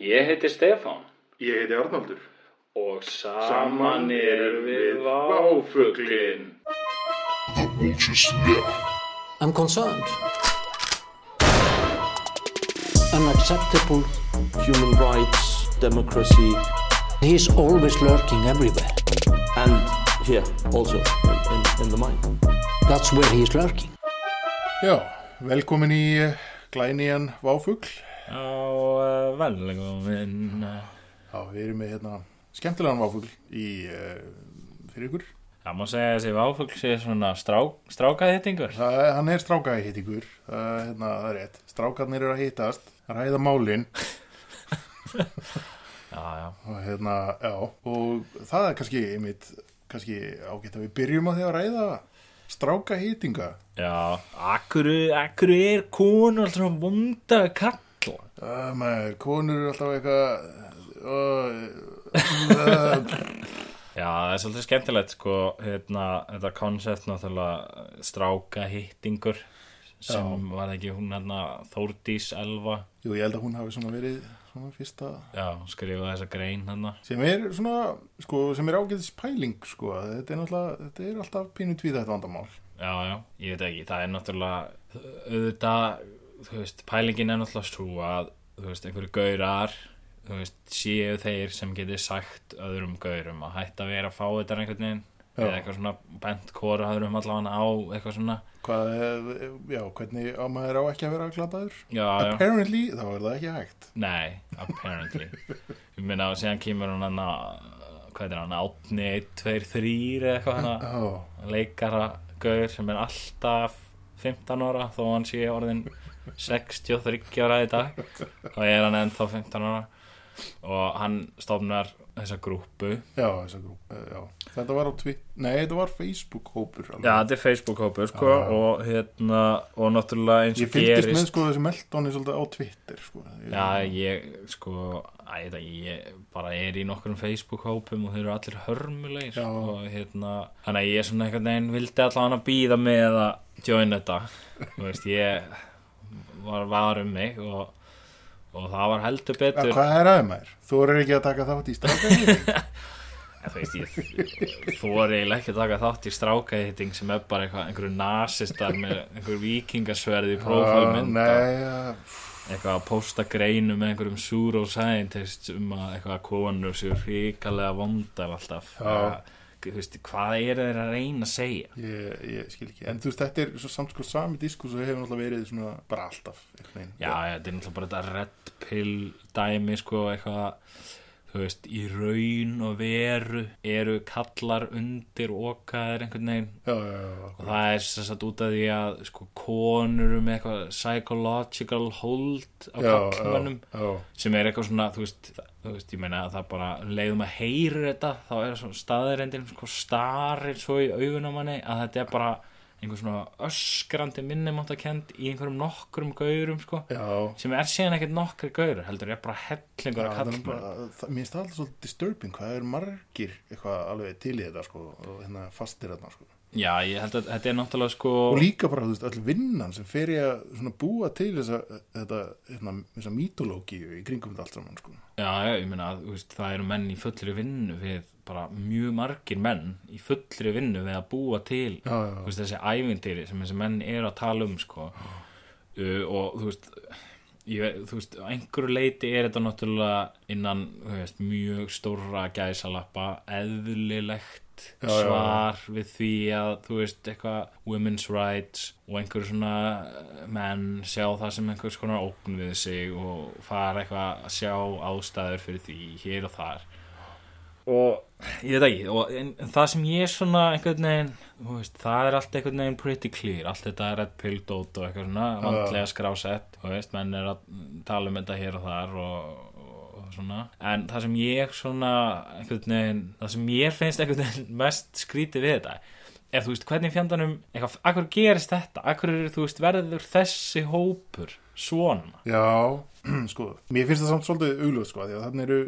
Ég heiti Stefán Ég heiti Arnaldur. og saman erum við váfuglin. váfuglinn. I'm concerned. Unacceptable. human rights, democracy, He's always lurking everywhere. and here also in, in, in the mind. That's where he's lurking. Já, velkomin í eh, glænían Váfugl. Já, uh, velkomin Já, við erum með hérna skemmtilegan Váfugl í, uh, fyrir ykkur. Það má segja að þessi váfugl sé svona strák, strákaðhittingur Það, er- hann er strákaði hitt ykkur, það, er, hérna, það er rétt. Strákarnir eru að hittast, ræða málin Já, já, og hérna, já. Og það er kannski, einmitt, kannski ágætt að við byrjum á því að ræða strákahýtinga. já Akkur, akkur er konu alltaf svona vonda við kalla Það með konur eru alltaf eh, eitthvað... Uh, uh, Já, það er svolítið skemmtilegt sko hérna, þetta konsept náttúrulega eh, strákaðhittingur sem var ekki hún hérna Þórdís Elva jú, ég held að hún hafi svona verið svona fyrsta... Já, hún skrifaði þessa grein hérna sem er svona, sko, sem er ágæðis pæling, sko, að þetta er náttúrulega þetta er alltaf pínu tvíða þetta vandamál Já, já, ég veit ekki, það er náttúrulega auðvitað, þú veist, pælingin er náttúrulega svo að, þú veist, einhverju gaurar, þú veist, séu þeir sem geti sagt öðrum gaurum að hætta að vera að fá þetta einhvern veginn Já. eða eitthvað svona bent kóra öðrum allavega á eitthvað svona hvað, eh, já, hvernig á maður á ekki að vera glataður Já, já, apparently, þá er það ekki hægt nei, apparently Ég meina, og síðan kemur hún hann að, hvað er hann, átni, 1, 2, 3 eða eitthvað hann já, leikara gaur sem er alltaf 15 ára þó hann sé orðin 63 ára í dag þá er hann ennþá 15 ára og hann stofnar þessa grúpu já, þessa grú, eh, já þetta var á tvitt, nei, þetta var Facebook hópur alveg. Já, þetta er Facebook-hópur sko og hérna, og náttúrulega eins ég og fylgist með, gerist sko, þessi meldóni svolítið á Twitter, sko Já, ég sko, æ, það, ég bara er í nokkrum Facebook-hópum og þeir eru allir hörmulegir Já. og hérna, þannig að ég svona einhvern veginn vildi allan að býða með að join þetta, þú veist, ég var var um mig og, og það var heldur Já, betur, Ah, hvað er aðeins maður? Þú eru ekki að taka þátt í strákaði? En þú veist, ég þóri eiginlega ekki að taka þátt í strákaðhitting sem er bara eitthvað, einhverju nasistar með einhverju vikingasverði í prófálmynda. Ah, Nei, já, eitthvað að posta greinu með einhverjum pseudoscientist um að eitthvað að konur séu hrikalega vondar alltaf Já. Þú veist, hvað eru þeir að reyna að segja ég, ég skil ekki En þú veist, þetta er svo, samt sko sami diskus og hefur náttúrulega verið svona bara alltaf einhvern veginn. já, já, þetta er náttúrulega bara þetta red pill dæmi sko, eitthvað þú veist, í raun og veru eru kallar undir okaðir einhvern veginn já, já, já, já. og það er sem sagt út af því að sko, konur eru með eitthvað psychological hold á já, kallmönnum já, já. sem er eitthvað svona, þú veist, það- þú veist ég meina að það bara leiðum að heyra þetta þá er svona staðirendin sko starir svo í augun á manni að þetta er bara einhver svona öskrandi minnumáttakend í einhverjum nokkrum gaurum sko, Já, sem er síðan ekkert nokkri gaurur heldur er bara hellingur að það er kalla bara, það, mér finnst það alltaf svolítið disturbing hvað er margir eitthvað alveg til í þetta sko, og hérna fastir þarna sko. já, ég held að þetta er náttúrulega sko og líka bara, þú veist, all vinnan sem fer ég að svona búa til þessa, þetta, hérna, þessa mítológíu í kringum þetta allt saman sko. já, já, ég meina að þú veist, það eru menn í fullri vinnu við bara mjög margir menn í fullri vinnu við að búa til Já, já, já. þú veist, þessi ævintýri sem þessi menn eru að tala um sko. uh, og þú veist ég, veit- þú veist, á einhverju leiti er þetta náttúrulega innan þú veist, mjög stóra gæsalappa eðlilegt Já, já, já. svar við því að þú veist eitthvað women's rights og einhverju svona eh, menn sjá það sem einhvers konar ógn við sig og fara eitthvað að sjá ástæður fyrir því hér og þar og ég veit ekki og en, en það sem ég svona einhvern veginn þú veist, það er allt einhvern veginn pretty clear allt þetta er red pill dót og eitthvað svona vandlega skrásett þú veist, menn er að tala um þetta hér og þar og, og svona en það sem ég svona einhvern veginn það sem ég finnst einhvern veginn mest skrítið við þetta ef þú veist hvernig fjandanum eitthvað, akkur gerist þetta, akkur þú veist verður þessi hópur svona Já, sko, mér finnst það samt svolítið augljóð, sko, af því að þannig eru,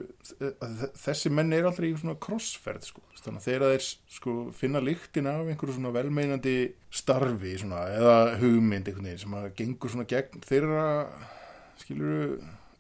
að þe- þessi menn eru aldrei í svona krossferð, sko, þannig að þegar þeir, sko, finna líktin af einhverju svona velmeinandi starfi, svona, eða hugmynd, einhvern veginn, sem að gengur svona gegn þeirra, skiluru,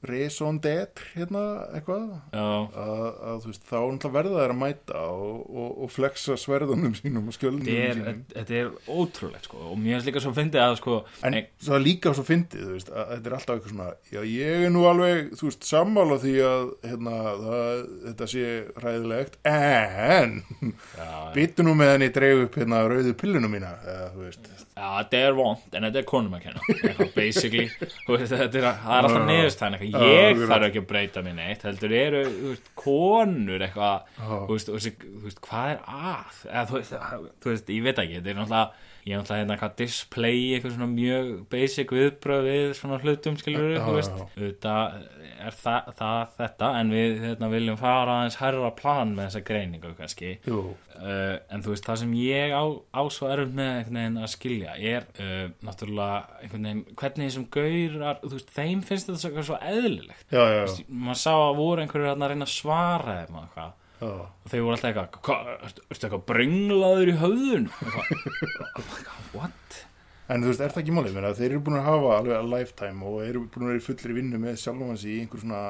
raison d'être hérna eitthvað já, að, að þú veist, þá náttúrulega verða þær að mæta og, og, og flexa sverðunum sínum og skjöldunum þetta er, sínum þetta er ótrúlegt sko og mér finnst líka svo fyndið að sko en nei, svo er líka svo fyndið, þú veist, að þetta er alltaf eitthvað svona já, ég er nú alveg, þú veist, sammála því að hérna, það, þetta sé ræðilegt, en já, byttu nú meðan ég dreif upp hérna rauðu pillunum mína eða, þú veist, já, þetta er vond en þetta er konum að kenna eitthvað, basically, þú veist, þetta er, það er alltaf neðustæðan eitthvað, Já, ég akkurat. þarf ekki að breyta mér neitt heldur eru, þú veist, konur eitthvað, þú veist, og þessi- þú veist, hvað er að eða, þú, veist, það- þú veist, ég veit ekki, þetta er náttúrulega ég er náttúrulega hérna hvað display eitthvað svona mjög basic viðbröð við svona hlutum skilur Já, þú veist, já. auðvitað er það, það þetta en við hérna, viljum fara aðeins herra plan með þessa greiningu kannski jú, uh, en þú veist það sem ég á, á svo erfum með einhvern veginn að skilja er uh, náttúrulega einhvern veginn hvernig þessum gaurar, þú veist þeim finnst þetta svo, eitthvað svo eðlilegt já, já, Þú veist, maður sá að voru einhverju þarna að reyna að svara þeim og eitthvað já, og þeir voru alltaf eitthvað "Hvað, ertu, ertu eitthvað brenglaður í höfðun eitthvað, oh my god, what en þú veist, er það ekki málið, menna, þeir eru búin að hafa alveg að lifetime og eru búin að vera í fullri vinnu með sjálfans í einhver svona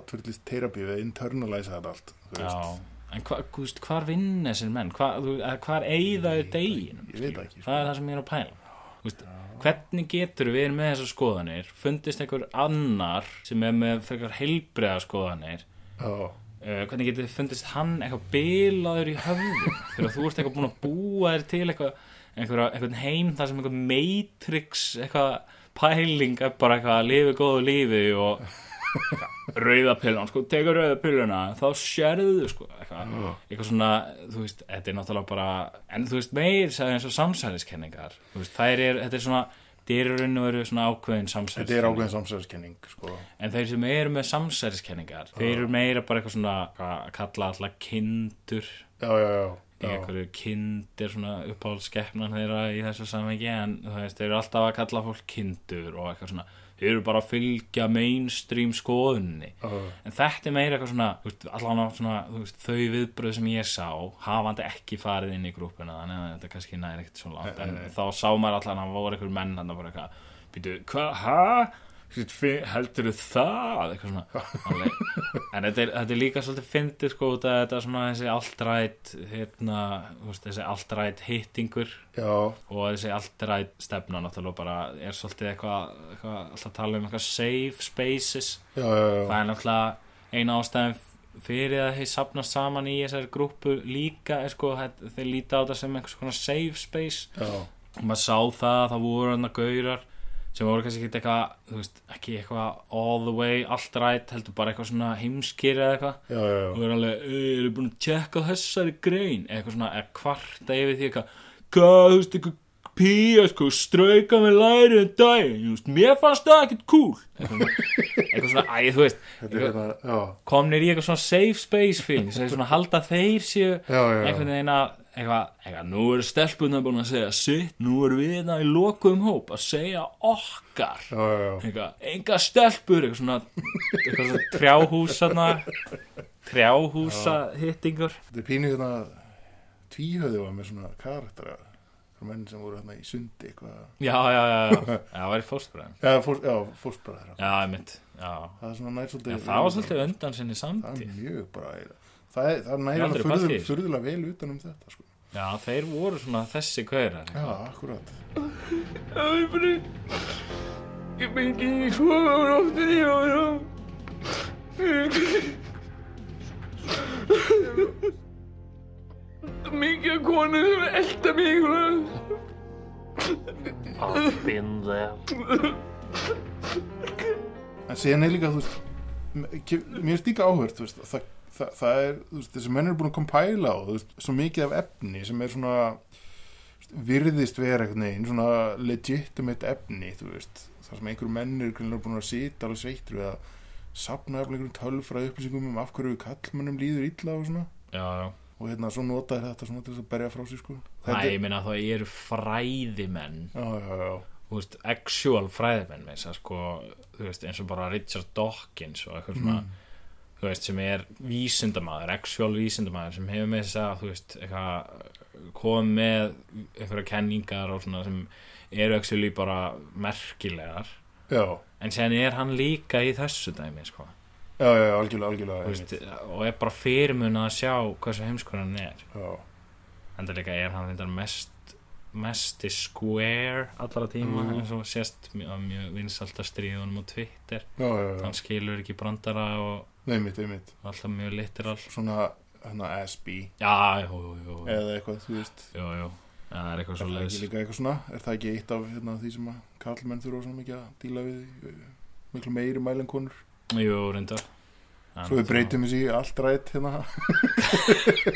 atverðlist terapi við að internalize þetta allt, þú veist, já, en hva, þú veist, hvar vinn þessir menn hva, þú, eða hvar eigðaðu deginum ég veit skilur? ekki, sko. það er það sem ég er að pæla Þú veist, hvernig getur við með þessar skoðanir fundist einhver annar sem er með frekar heilbreiða skoðanir já, uh, hvernig getur þið fundist hann eitthvað bilaður í höfðum þegar þú ert eitthvað búin að búa þér til eitthvað einhver, einhvern heim þar sem einhver matrix eitthvað pæling er bara eitthvað að lifi góðu lífi og eitthvað, rauða pillan, sko, tekur rauða pilluna þá sérðu, sko, eitthvað eitthvað svona, þú veist, þetta er náttúrulega bara en þú veist, meir sagði eins og samsæðiskenningar, þú veist, þær er, þetta er svona dyrurinn og eru svona ákveðin samsæðiskenningar þetta er ákveðin samsæðiskenning, sko, En þeir sem eru með samsæriskenningar Þeir eru meira bara eitthvað svona Að kalla alltaf kindur já, já, já, Í já. einhverju kind er svona uppáhaldskeppnan þeirra Í þessu samhengi En þú veist, þeir eru alltaf að kalla fólk kindur Og eitthvað svona Þeir eru bara að fylgja mainstream skoðunni Já. En þetta er meira eitthvað svona þú veist, Allan á svona þú veist, þau viðbröð sem ég sá Hafandi ekki farið inn í grúpuna Þannig að þetta kannski næri ekkert svona langt En þá sá maður allan að voru einhver menn Þannig bara eitthvað Býtu, hvað, hæ? heldur þú það eitthvað svona alveg. en þetta er, þetta er líka svolítið fyndið sko út að þetta er svona þessi alltrætt hérna, þú veist, þessi alltrætt hittingur Já, og þessi alltrætt stefna náttúrulega bara er svolítið eitthvað, eitthvað alltaf að tala um eitthvað safe spaces já, já, já, það er náttúrulega eina ástæðin fyrir að þeir sapnast saman í þessari grúpu líka er sko þetta- þeir líta á þetta sem einhvers konar safe space já, og maður sá það að það voru hann gaurar sem voru kannski ekki eitthvað þú veist, ekki eitthvað all the way allt rætt, heldur bara eitthvað svona heimskir eða eitthvað já, já, og já. eru alveg, "Eh, eru búin að tjekka á þessari grein eitthvað svona, eða kvarta yfir því eitthvað hvað, þú veist, eitthvað pía sko, strauka með læri um daginn, þú veist, mér fannst það ekkert cool eitthvað, eitthvað svona, æ, þú veist Þetta er hérna, já, komnir í eitthvað svona safe space feeling sem svona halda að þeir séu Já, já, já. einhvern veginn að eitthvað, eitthvað, nú eru stelpunar búin að segja sitt, nú eru við hérna í lokuðum hóp að segja okkar já, já, já, eitthvað, enga stelpur eitthvað svona, eitthvað svona trjáhúsana trjáhúsa hittingur þetta er pínu hérna tvíhöðu var með svona karaktera það menn sem voru hérna í sundi eitthvað, já, já, já, já, já, það var í fóstbræðin já, fór, já, fórstbræðra já, einmitt, já það er svona nær svolítið En það var svolítið undan sinni það samtíð er mjög bara það, er, það Ég næra aldrei furðu- pælt í þessu. furðulega vel utan um þetta sko. já, þeir voru svona þessi kaurar já, akkurat en síðan er líka þú veist m- ke- mér er líka áhört þú veist, það, það, það er, þú veist, þessi menn eru búin að kompæla á þú veist, svo mikið af efni sem er svona þú veist, virðist vera einhvern veginn svona legitimate efni þú veist, þar sem einhverjum menn eru greinilega búin að sita alveg sveittur við að safna af einhverjum tölfræð upplýsingum um af hverju kallmönnum líður illa og svona já, já og hérna svo notaði þetta svona til þess að berja frá sér sko Æ, Þetta ég er- meina þá eru fræðimenn Já, já, já, þú veist, actual fræðimenn með þess að sko, þú veist, eins og bara Richard Dawkins og eitthvað svona þú veist, sem er vísindamaður actual vísindamaður sem hefur með þess að þú veist, eitthvað komið með einhverja kenningar og svona sem eru actually bara merkilegar já, já, en séðan er hann líka í þessu dæmi sko. já, já, já, algjörlega, algjörlega Þú veist, einmitt. og er bara fyrirmuna að sjá hversu heimskur hann er já, enda líka er hann reyndar mest mest í square allra tíma Mhm. eins og sést mjög, mjög vinsalt að stríða honum á Twitter já, já, já, hann skilur ekki brandara og einmitt, einmitt alltaf mjög literal svona, hérna, hann að SB já, jú, jú, jú, jú, eða eitthvað, þú veist jú, jú. Já, það er eitthvað Er svo það leiðis ekki líka eitthvað svona? Er það ekki eitt af hérna, því sem að kallmenn þurfa svona mikið að díla við eh, miklu meiri mæl en konur? jú, reyndar En Svo við það- breytum þessi í allt rætt hérna,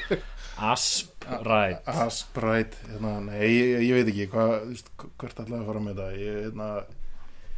asp, right asp rætt hérna, nei, ég, ég veit ekki hvað, þú veist, hvert ætlaði að fara með það ég, hérna,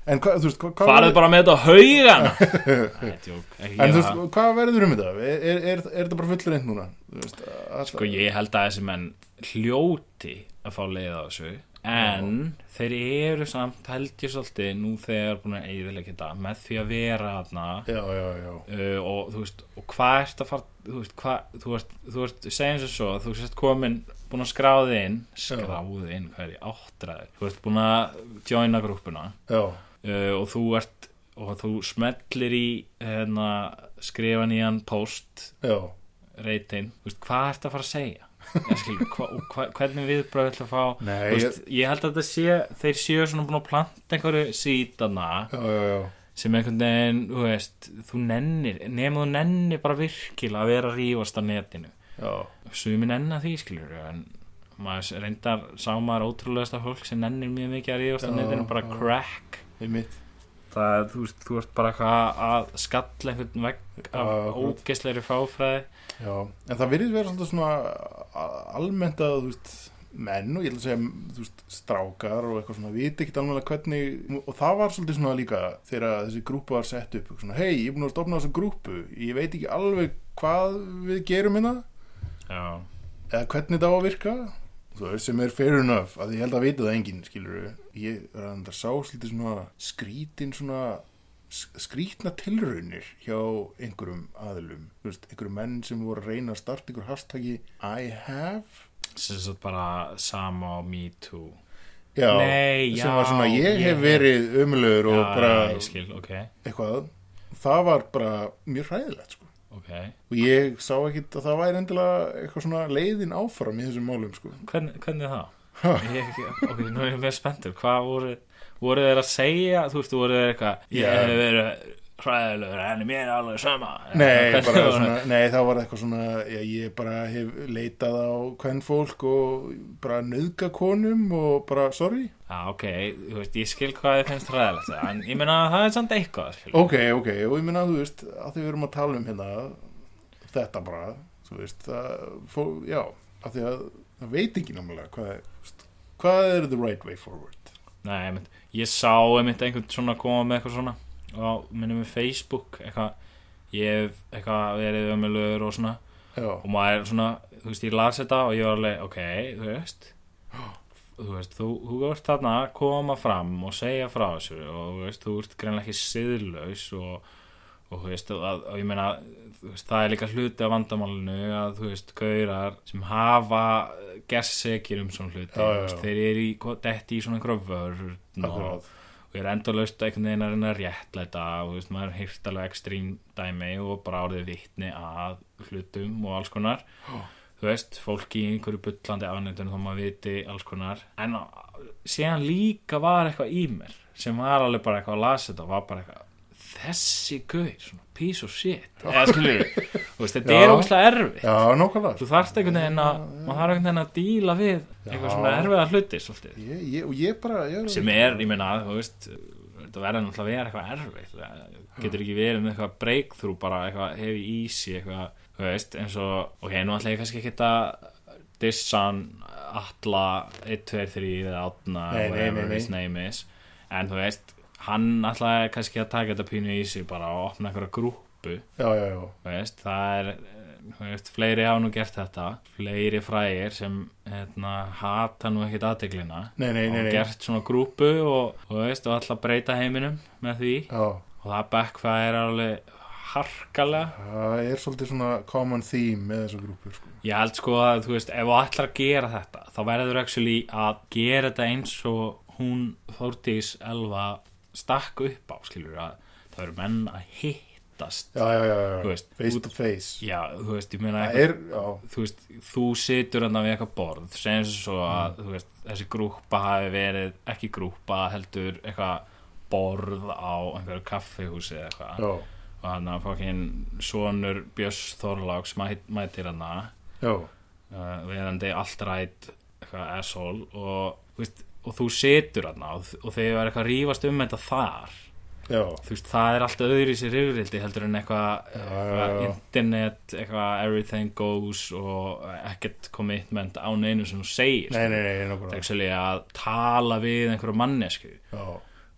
en hvað, þú veist, hvað, hvað farið bara með þetta á haugan Nei, djók, ekki En þú gera veist, það. hvað verður um þetta? Er, er, er, er þetta bara fullur einn núna? Þú veist, að- sko ég held að þessi menn hljóti að fá leið á þessu en þeir eru samt held ég svolítið nú þegar búin að eigðilega þetta með því að vera þarna Já, já, já, uh, og þú veist, og hvað ert að fara þú veist, hvað, þú veist, þú veist, segjum sem svo þú veist komin, búin að skráði inn skráði inn, hvað er ég, áttræður þú ert búin að joina grúppuna já, uh, og þú ert og þú smellir í hérna, skrifa nýjan post já, reytin, þú veist, hvað ert að fara að segja Ég skil, hva, og hva, hvernig viðbröð ætla að fá Nei, Þú veist, ég held að þetta sé, þeir séu svona búin að planta einhverju sídana já, já, já, sem einhvern veginn, þú veist þú nennir, nema þú nennir bara virkilega að vera að rífast á netinu já, sumi nennar því, skilur en maður reyndar sá maður ótrúlegasta fólk sem nennir mjög mikið að rífast á Já, netinu, bara já. crack í mitt, það er, þú veist, þú ert bara eitthvað að skalla einhvern vegg af Já, akkurat. ógeðsleiri fáfræði já. En það virðist vera svolítið svona a- almennt að, þú veist, menn og ég ætla að segja, þú veist, strákar og eitthvað svona, viti ekkert alveg hvernig, og það var svolítið svona líka þegar þessi grúpa var sett upp, svona, hei, ég er búin að stofna þessa grúpu, ég veit ekki alveg hvað við gerum hérna, já, eða hvernig það á að virka þú veist sem er fair enough að ég held að vita það enginn skilur ég er að það sá svolítið svona skrítin svona sk- skrítna tilraunir hjá einhverjum aðlum þú veist, einhverjum menn sem voru að reyna að starta einhver hashtagi I have sem sagt bara sama og me too já, Nei, já, sem var svona ég ég- hef verið umlögur og já, bara já, ég skil, ok, eitthvað það var bara mjög hræðilegt sko ok og ég sá ekkit að það væri endilega eitthvað svona leiðin áfram í þessum málum sko Hvern, hvernig það? Ég, ok, nú er ég mér spenntur hvað voru, voru þeir að segja þú veist, voru þeir eitthvað Já. ég hef verið hræðilegur en mér er alveg sama Nei, Hvernig bara voru- svona, nei, það var eitthvað svona já, ég bara hef leitað á hvern fólk og bara nöðga konum og bara, sorry Já, ok, þú veist, ég skil hvað þið finnst hræðilegt en ég meina að það er samt eitthvað skil. Ok, ok, og ég minna, þú veist að því við erum að tala um hérna þetta bara, þú veist það, fó, já, af því að það veit ekki námlega hvað, er- þú veist, hvað er the right way forward Nei, ég, mynd, ég sá einmitt einhvern svona koma með eitthvað svona á minnum við Facebook eitthvað, ég hef eitthvað verið ömulögur og svona Já, og maður er svona, þú veist, ég las þetta og ég var alveg, ok, þú veist þú veist, þú, þú ert þarna að koma fram og segja frá þessu og þú veist, þú ert greinlega ekki siðlaus og, og þú veist, að, og ég meina þú veist, það er líka hluti af vandamálinu að þú veist, gaurar sem hafa gerst segir um svona hluti Já, já, þú veist, já. þeir eru í, detti í svona einhverja vörn og akkurat og ég er endalaust einhvern veginn að reyna að réttlæta og þú veist, maður hýrt alveg ekstrím dæmi og bara árið vitni að hlutum og alls konar þú veist, fólk í einhverju bullandi afnættun þá maður viti alls konar en á- síðan líka var eitthvað í mér sem var alveg bara eitthvað að lasa þetta og var bara eitthvað þessi gaur, svona piece of shit eða skilur, þú veist, þetta Já. er ógæslega erfitt Já, nákvæmlega þú þarft einhvern veginn að maður þarf einhvern veginn að díla við eitthvað Já. svona erfiða hluti svolítið ég, ég, Og ég bara, ég sem er, ég meina, þú veist þetta verður náttúrulega að vera eitthvað erfitt það getur ekki verið með eitthvað breakthrough bara eitthvað heavy easy eitthvað, þú veist, eins og ok, nú ætla ég kannski ekki að dissan alla 1, 2, 3 eða 8 Nei, nei, nei, whatever nei. his name is en þú veist, hann ætlaði kannski að taka þetta pínu í sig bara og opna einhverja grúppu Já, já, já, Þú veist, það er eh, þú veist, fleiri hafa nú gert þetta fleiri frægir sem hérna, hata nú ekkit aðteglina nei, nei, nei, og nei. gert svona grúpu og, og, þú veist, og alltaf að breyta heiminum með því Já, og það backfire alveg harkalega það er svolítið svona common theme með þessu grúpur sko. ég held sko að þú veist ef þú ætlar að gera þetta þá verður actually að gera þetta eins og hún Þórdís Elva stakk upp á skilur að það eru menn að hittast já, já, já, Þú já. veist, face út- to face já, þú veist, ég meina það eitthvað- er, já, þú veist, þú situr hann við eitthvað borð, segjum sem svo að þú veist, þessi grúppa hafi verið ekki grúppa, heldur eitthvað borð á einhverju kaffihúsi eða eitthvað já, og hann að fokkin sonur Björns Þorláks mæ- mætir hann að já uh, verandi allt rætt eitthvað asshole og, þú veist, og þú situr hann og, og þegar er eitthvað að rífast um þetta þar já, þú veist, það er alltaf öðru í sér yfirildi heldur en eitthvað eitthva, já, já. internet, eitthvað everything goes og ekkert commitment á neinu sem þú segir nei, nei, nei, nei, það er nei ekki að tala við einhverju mannesku já,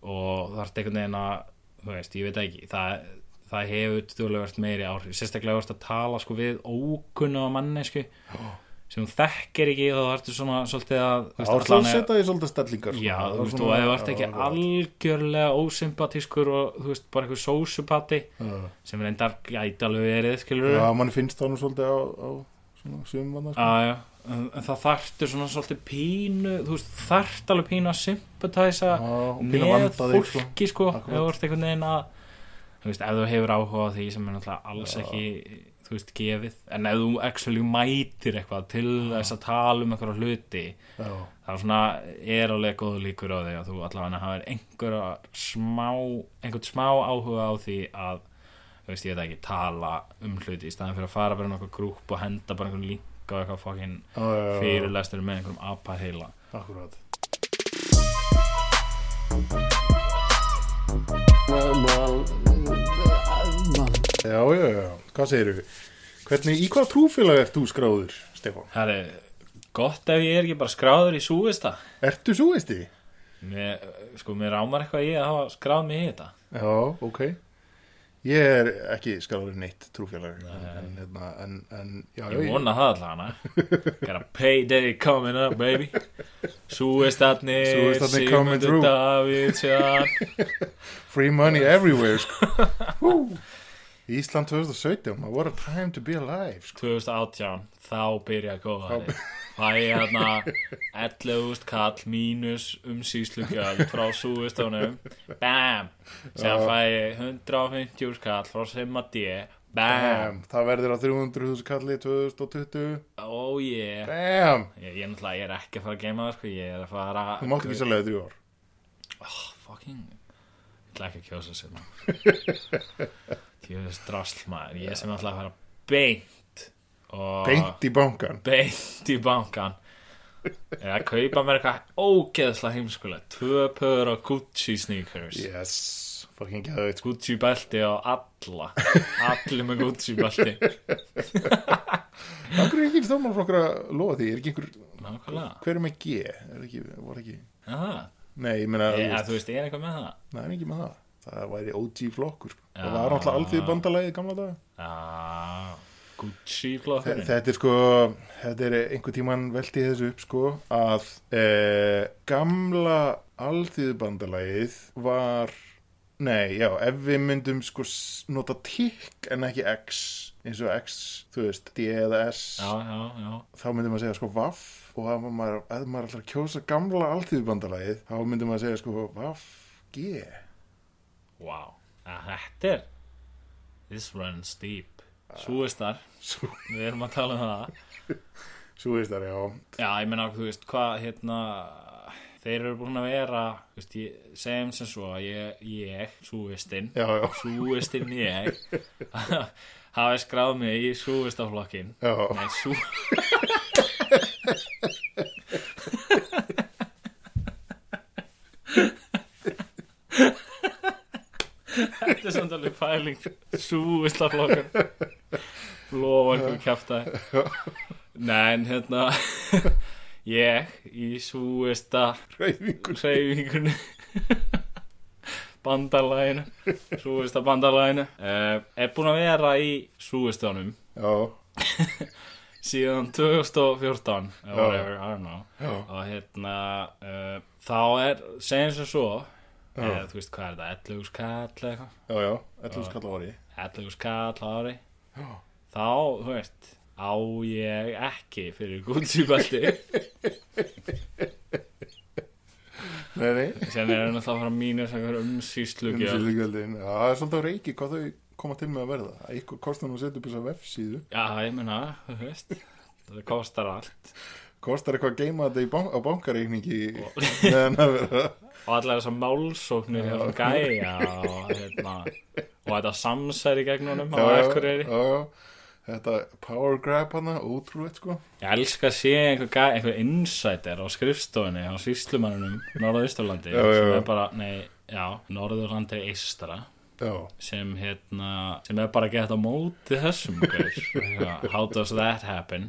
og það er einhvern veginn að þú veist, ég veit ekki, það, það hefur stjórnlegast meiri áhrif, sérstaklega þú ert að tala sko við ókunna mannesku sem þú þekkir ekki og það ertu svona svolítið að þú veist, áhrif allan er- setja því svolítið stellingar Já, sko. þú veist, Svona- og ef þú ert ekki já, algjörlega ósympatískur og þú veist, bara eitthvað sósupati já. sem reyndar gæti alveg verið, skilur Já, mann finnst það nú svolítið á, á svona sumvanna sko. já. En, en það þarftu svona svolítið pínu, þú veist, þarft alveg pínu að sympatæsa Já, og pínu með að vanda þig, sko. fólki, sko, ef Akkurat. þú ert einhvern veginn að, þú veist, ef þú hefur áhuga á því sem er náttúrulega alls ekki, þú veist, gefið, en ef þú actually mætir eitthvað til þess að tala um einhverja hluti, Já, það er svona er alveg góð líkur á því að þú allavega hafir einhver smá einhvern smá áhuga á því að þú veist ég veit ekki tala um hluti í staðan fyrir að fara bara í nokkuð grúp og henda bara einhvern link á eitthvað fokkin já, já, já, já, fyrirlestur með einhverjum apa heila akkurat Well, well, uh, well, Já, já, já, hvað segir Hvernig, í hvað trúfélag ert þú skráður, Stefán? Það er gott ef ég er ekki bara skráður í súvista Ertu svo veist því? mér, sko mér rámar eitthvað ég að hafa skráð mig í þetta Já, ok Ég er ekki skráður í neitt trúfélag en, hérna, en, en, já, já, ég vona það allavega gotta payday coming up baby súvistatnir Súgurstjarnir coming through. Davidsson Free money everywhere sko. Hú. Ísland 2017 What a time to be alive sko. 2018 þá byrja góðari það er hérna 11.000 kall mínus umsýslugjöld frá súðustónum bam, sem fæ ég 150 kall frá Simma D bam, Bam. Það verður á 300.000 kalli 2020 oh yeah Bam ég, ég, náttúrulega- ég er ekki að fara að geima það sko, ég er að fara Þú mátt ekki sérlega þrjú ár oh, fucking ég ætla ekki að kjósa Simma kjósa strasl maður ég sem ætla að fara beint og Beint í bankan beint í bankan eða að kaupa mér eitthvað ógeðslega heimskulega tvö pöður á Gucci sneakers Yes Fucking geðveit sko. Gucci belti á alla allir með Gucci belti Akkur er ekki stjórnmálflokkur að lofa því Er ekki einhver nákvæmlega Hver er með G? Er ekki, var ekki Aha. Nei, ég meina þú eða veist, þú veist, ég er eitthvað með það Nei, er ekki með það Það væri OG flokkur sko. Já. Það var náttúrulega alþýð bandalagið gamla dag Já, Gucci Þe- flokkurinn Þetta er sko, þetta er einhvern tíman veltið þessu upp sko að e, gamla alþýðubandalagið var, nei, já, ef við myndum sko s- nota tikk en ekki x, eins og x, þú veist, d eða s, já, já, já, þá myndum maður segja sko vaff og ef maður, ef maður ætlar að kjósa gamla alþýðubandalagið, þá myndum maður segja sko vaff, g, wow að þetta er this runs deep Ah. súistar, svo, við erum að tala um það svo veist það, já, Já, ég meina, þú veist, hvað, hérna, þeir eru búin að vera, þú veist, ég, segjum sem svo að ég, ég, súvistinn, já, já, súvistinn ég, hafi skráð mig í súvistaflokkin. já, Nei, sú... Þetta er samt alveg pæling Súvistaflokkan Lofa einhver kjafta Nei, en hérna Ég í súvista hreyfingur, hreyfingunni Bandalæginu Súvista bandalæginu Eh, uh, Er búin að vera í súvistanum já, síðan 2014 eða Já. whatever, I don't know Já. og hérna uh, þá er, segjum sem svo eða, þú veist hvað er þetta, 11 skall eða eitthvað, já, já, ætlum skalla var 11 skall á ári þá, þú veist á ég ekki fyrir gútsjúkvöldi Nei, nei, Sen er hann alltaf að fara mínus einhver umsýslugjöld. umsýslugjöldin. Já, það er svolítið á reiki hvað þau koma til með að verða. Að Eitthvað kostar nú að setja upp þessa vefsíðu. Já, ég meina, þú veist, það kostar allt. Kostar eitthvað að geima þetta í bank á bankareikningi meðan að vera. Og allar þessar málsóknir hjá þessum gæja og hérna, og þetta samsæri gegn honum á Akureyri. Já, já. Þetta power grab hana, ótrúleitt sko. Ég elska að sé einhver, gæ- einhver insider á skrifstofunni á síslumannunum Norðausturlandi Já, já, sem já. er bara, nei, já, Norðurlandi eistra Já, sem hérna, sem er bara að geta á móti þessum gaur. Já, how does that happen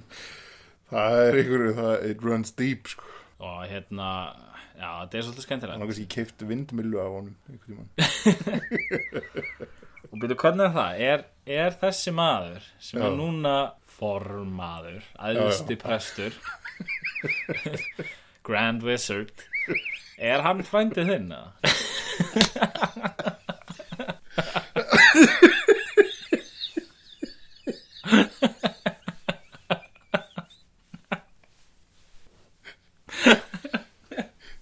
það er einhverju, það, it runs deep sko. og hérna, já, þetta er svolítið Hann skemmtilegt har kannski keift vindmillu af honum einhvern tímann. og byrju, hvernig er það, er, er þessi maður sem Já. er núna formaður, æðsti prestur Grand Wizard er hann frændið þinn að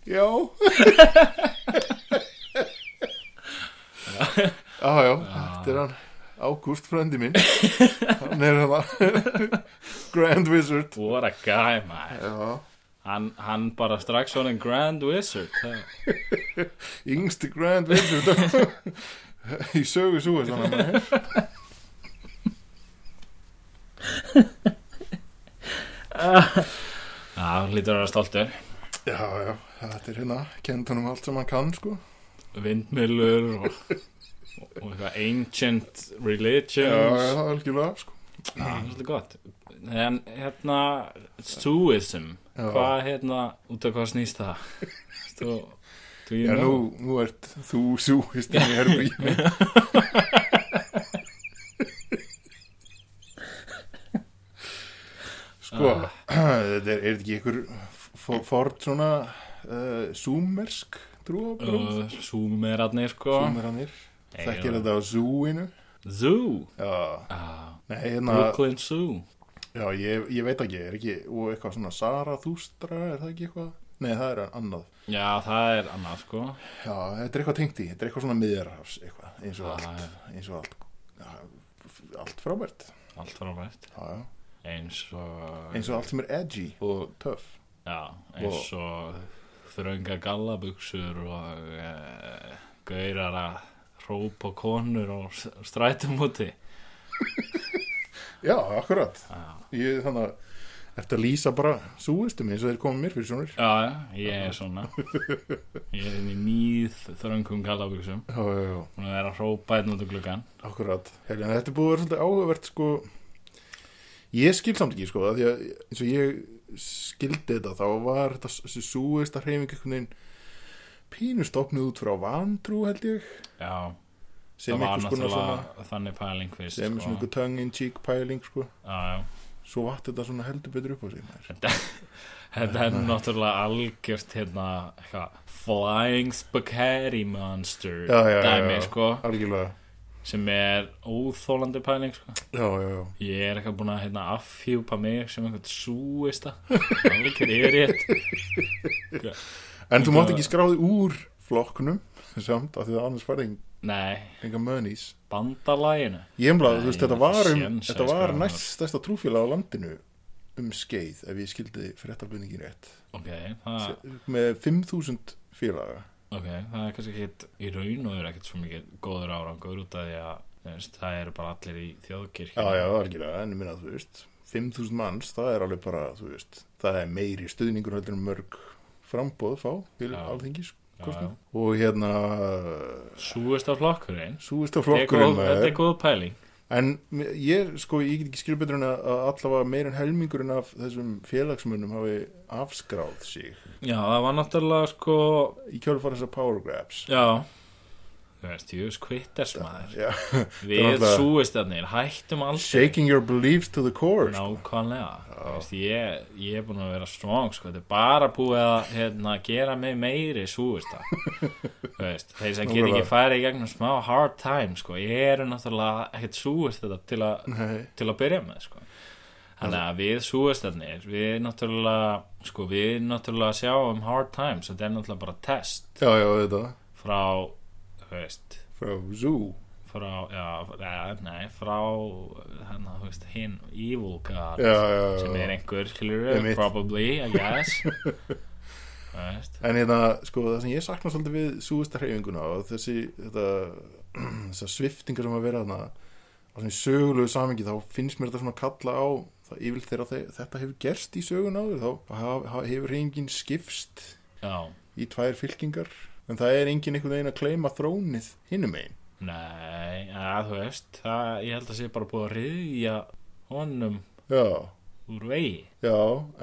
Já. Já, já, þetta er hann. Ágúst frændi minn. Hann er hann Grand Wizard. What a guy, man Já, hann, hann bara strax orðin Grand Wizard það- yngsti Grand Wizard í sögu súi svona maður. Já, hann lítur að vera stoltur Já, já, þetta er hérna, kent honum allt sem hann kann sko. Vindmilur og, og eitthvað ancient Já, já, religions það er algjörlega sko. Já, Svolítið gott En hérna, Suism Já. Hvað hérna, út af hvað snýst það? Þú, þú Já, ég nú, nú ert þú súist í herbíu. sko, þetta er, er þetta ekki ykkur fo- fort svona uh, súmersk Uh, trúabrúð? Súmerarnir, sko Súmeranir, Já. þekkir þetta á súinu? Zoo Já, ah, nei, hérna, Brooklyn Zoo já, ég, ég veit ekki, er ekki, og eitthvað svona Sarathústra, er það ekki eitthvað? Nei, það er annað. Já, það er annað, sko Já, þetta er eitthvað tengt í, þetta er eitthvað svona miðjarhafs eitthvað, eins og Ah, Já, allt, eins og allt, já, allt frábært, Allt frábært já, já, Eins og eins og allt sem er edgy og töff. Já, eins og þrönga gallabuxur og uh, gaurar að hrópa konur og strætum úti. Já, akkurat, Já, ég þannig að, eftir að lýsa bara súistum eins og þeir koma mér fyrir sjónur. já, já, ég er svona. Ég er inn í nýð þröngum gallabuxum. Já, já, já, Hún er að hrópa einn út um úr gluggan. akkurat, Heri, en þetta er búið að vera svolítið áhugavert, sko, ég skil samt ekki, sko, af því að eins og ég skildi þetta, þá var þetta þessi súista hreyfing einhvern veginn pínustofnuð út frá vantrú, held ég, Já, sem það var einhvers konar náttúrulega svona... þannig pæling fyrst. sem er svona sko. ykkur tongue in cheek pæling sko. Já, já. svo vatt þetta svona heldur betur upp á sig maður. Þetta er náttúrulega algjört hérna, eitthvað, flying spaghetti monster Já, já, já, dæmi, já. sko, algjörlega sem er óþólandi pæling, sko. já, já, já. Ég er eitthvað búin að hérna, afhjúpa mig sem einhvern súista Algjör yfirrétt en þú mátt ekki skráði úr flokknum samt af því að annars farið Nei, enga mönís bandalæginu ég emlaði, Nei, þú veist, þetta ég var, um, séns að þetta var skráði næst stærsta trúfélag á landinu um skeið ef ég skildi fréttabunningi rétt Ok, það, með 5.000 félaga ok, það er kannski ekkit í raun og er ekkit svo mikið góður árangur út af því að þú veist, það eru bara allir í já, þjóðkirkju já, algjörlega, en ég minna, þú veist 5.000 manns, það er alveg bara, þú veist það er meiri stuðningur heldur en mörg frambóð fá til Já. alþingis Já, kosninga. já. og hérna Súist af flokkurinn súist Þetta er á góð- flokkurinn Þetta maður. er góð pæling en mér- ég, sko, ég get ekki skil betur en að að allavega meir en helmingurinn af þessum félagsmunum hafi afskráð sig Já, það var náttúrulega sko í kjölfara þessar power grabs Já Þú veist, jú, skvitters maður Já. er Við náttúrulega- súistarnir hættum aldrei shaking your beliefs to the core sko. Nákvæmlega Þú veist, ég, ég er búin að vera strong sko. þetta er bara búið að hérna, gera mig meiri súvista Þú veist, þeir sem get ekki Nákvæmlega. farið í gegnum smá hard time sko. ég eru náttúrulega ekkert súvist þetta til, a, Nei. til að byrja með sko. Þannig að við súvestarnir, við náttúrulega, sko, við náttúrulega sjáum hard times, þetta er náttúrulega bara test já, já, þetta frá, þú veist, frá Zoo frá, já, eða, nei, frá, þannig þú veist, hinn evil god, já, já, já, sem já. er einhver, Einmitt. skilur, probably, I guess, þú veist, en hérna, sko, það sem ég sakna svolítið við súvista hreyfinguna og þessi þetta, þessar sviftingar sem að vera þarna á svona í sögulegu samingi þá finnst mér þetta svona kalla á það yfirleitt þegar þe- þetta hefur gerst í sögun áður þá haf- ha- hefur hreyfingin skipst já, í tvær fylkingar en það er engin einhvern veginn að kleima þrónið hinnum einn nei, já, þú veist, það, ég held að sé bara búið að riðja honum já, úr vegi, já,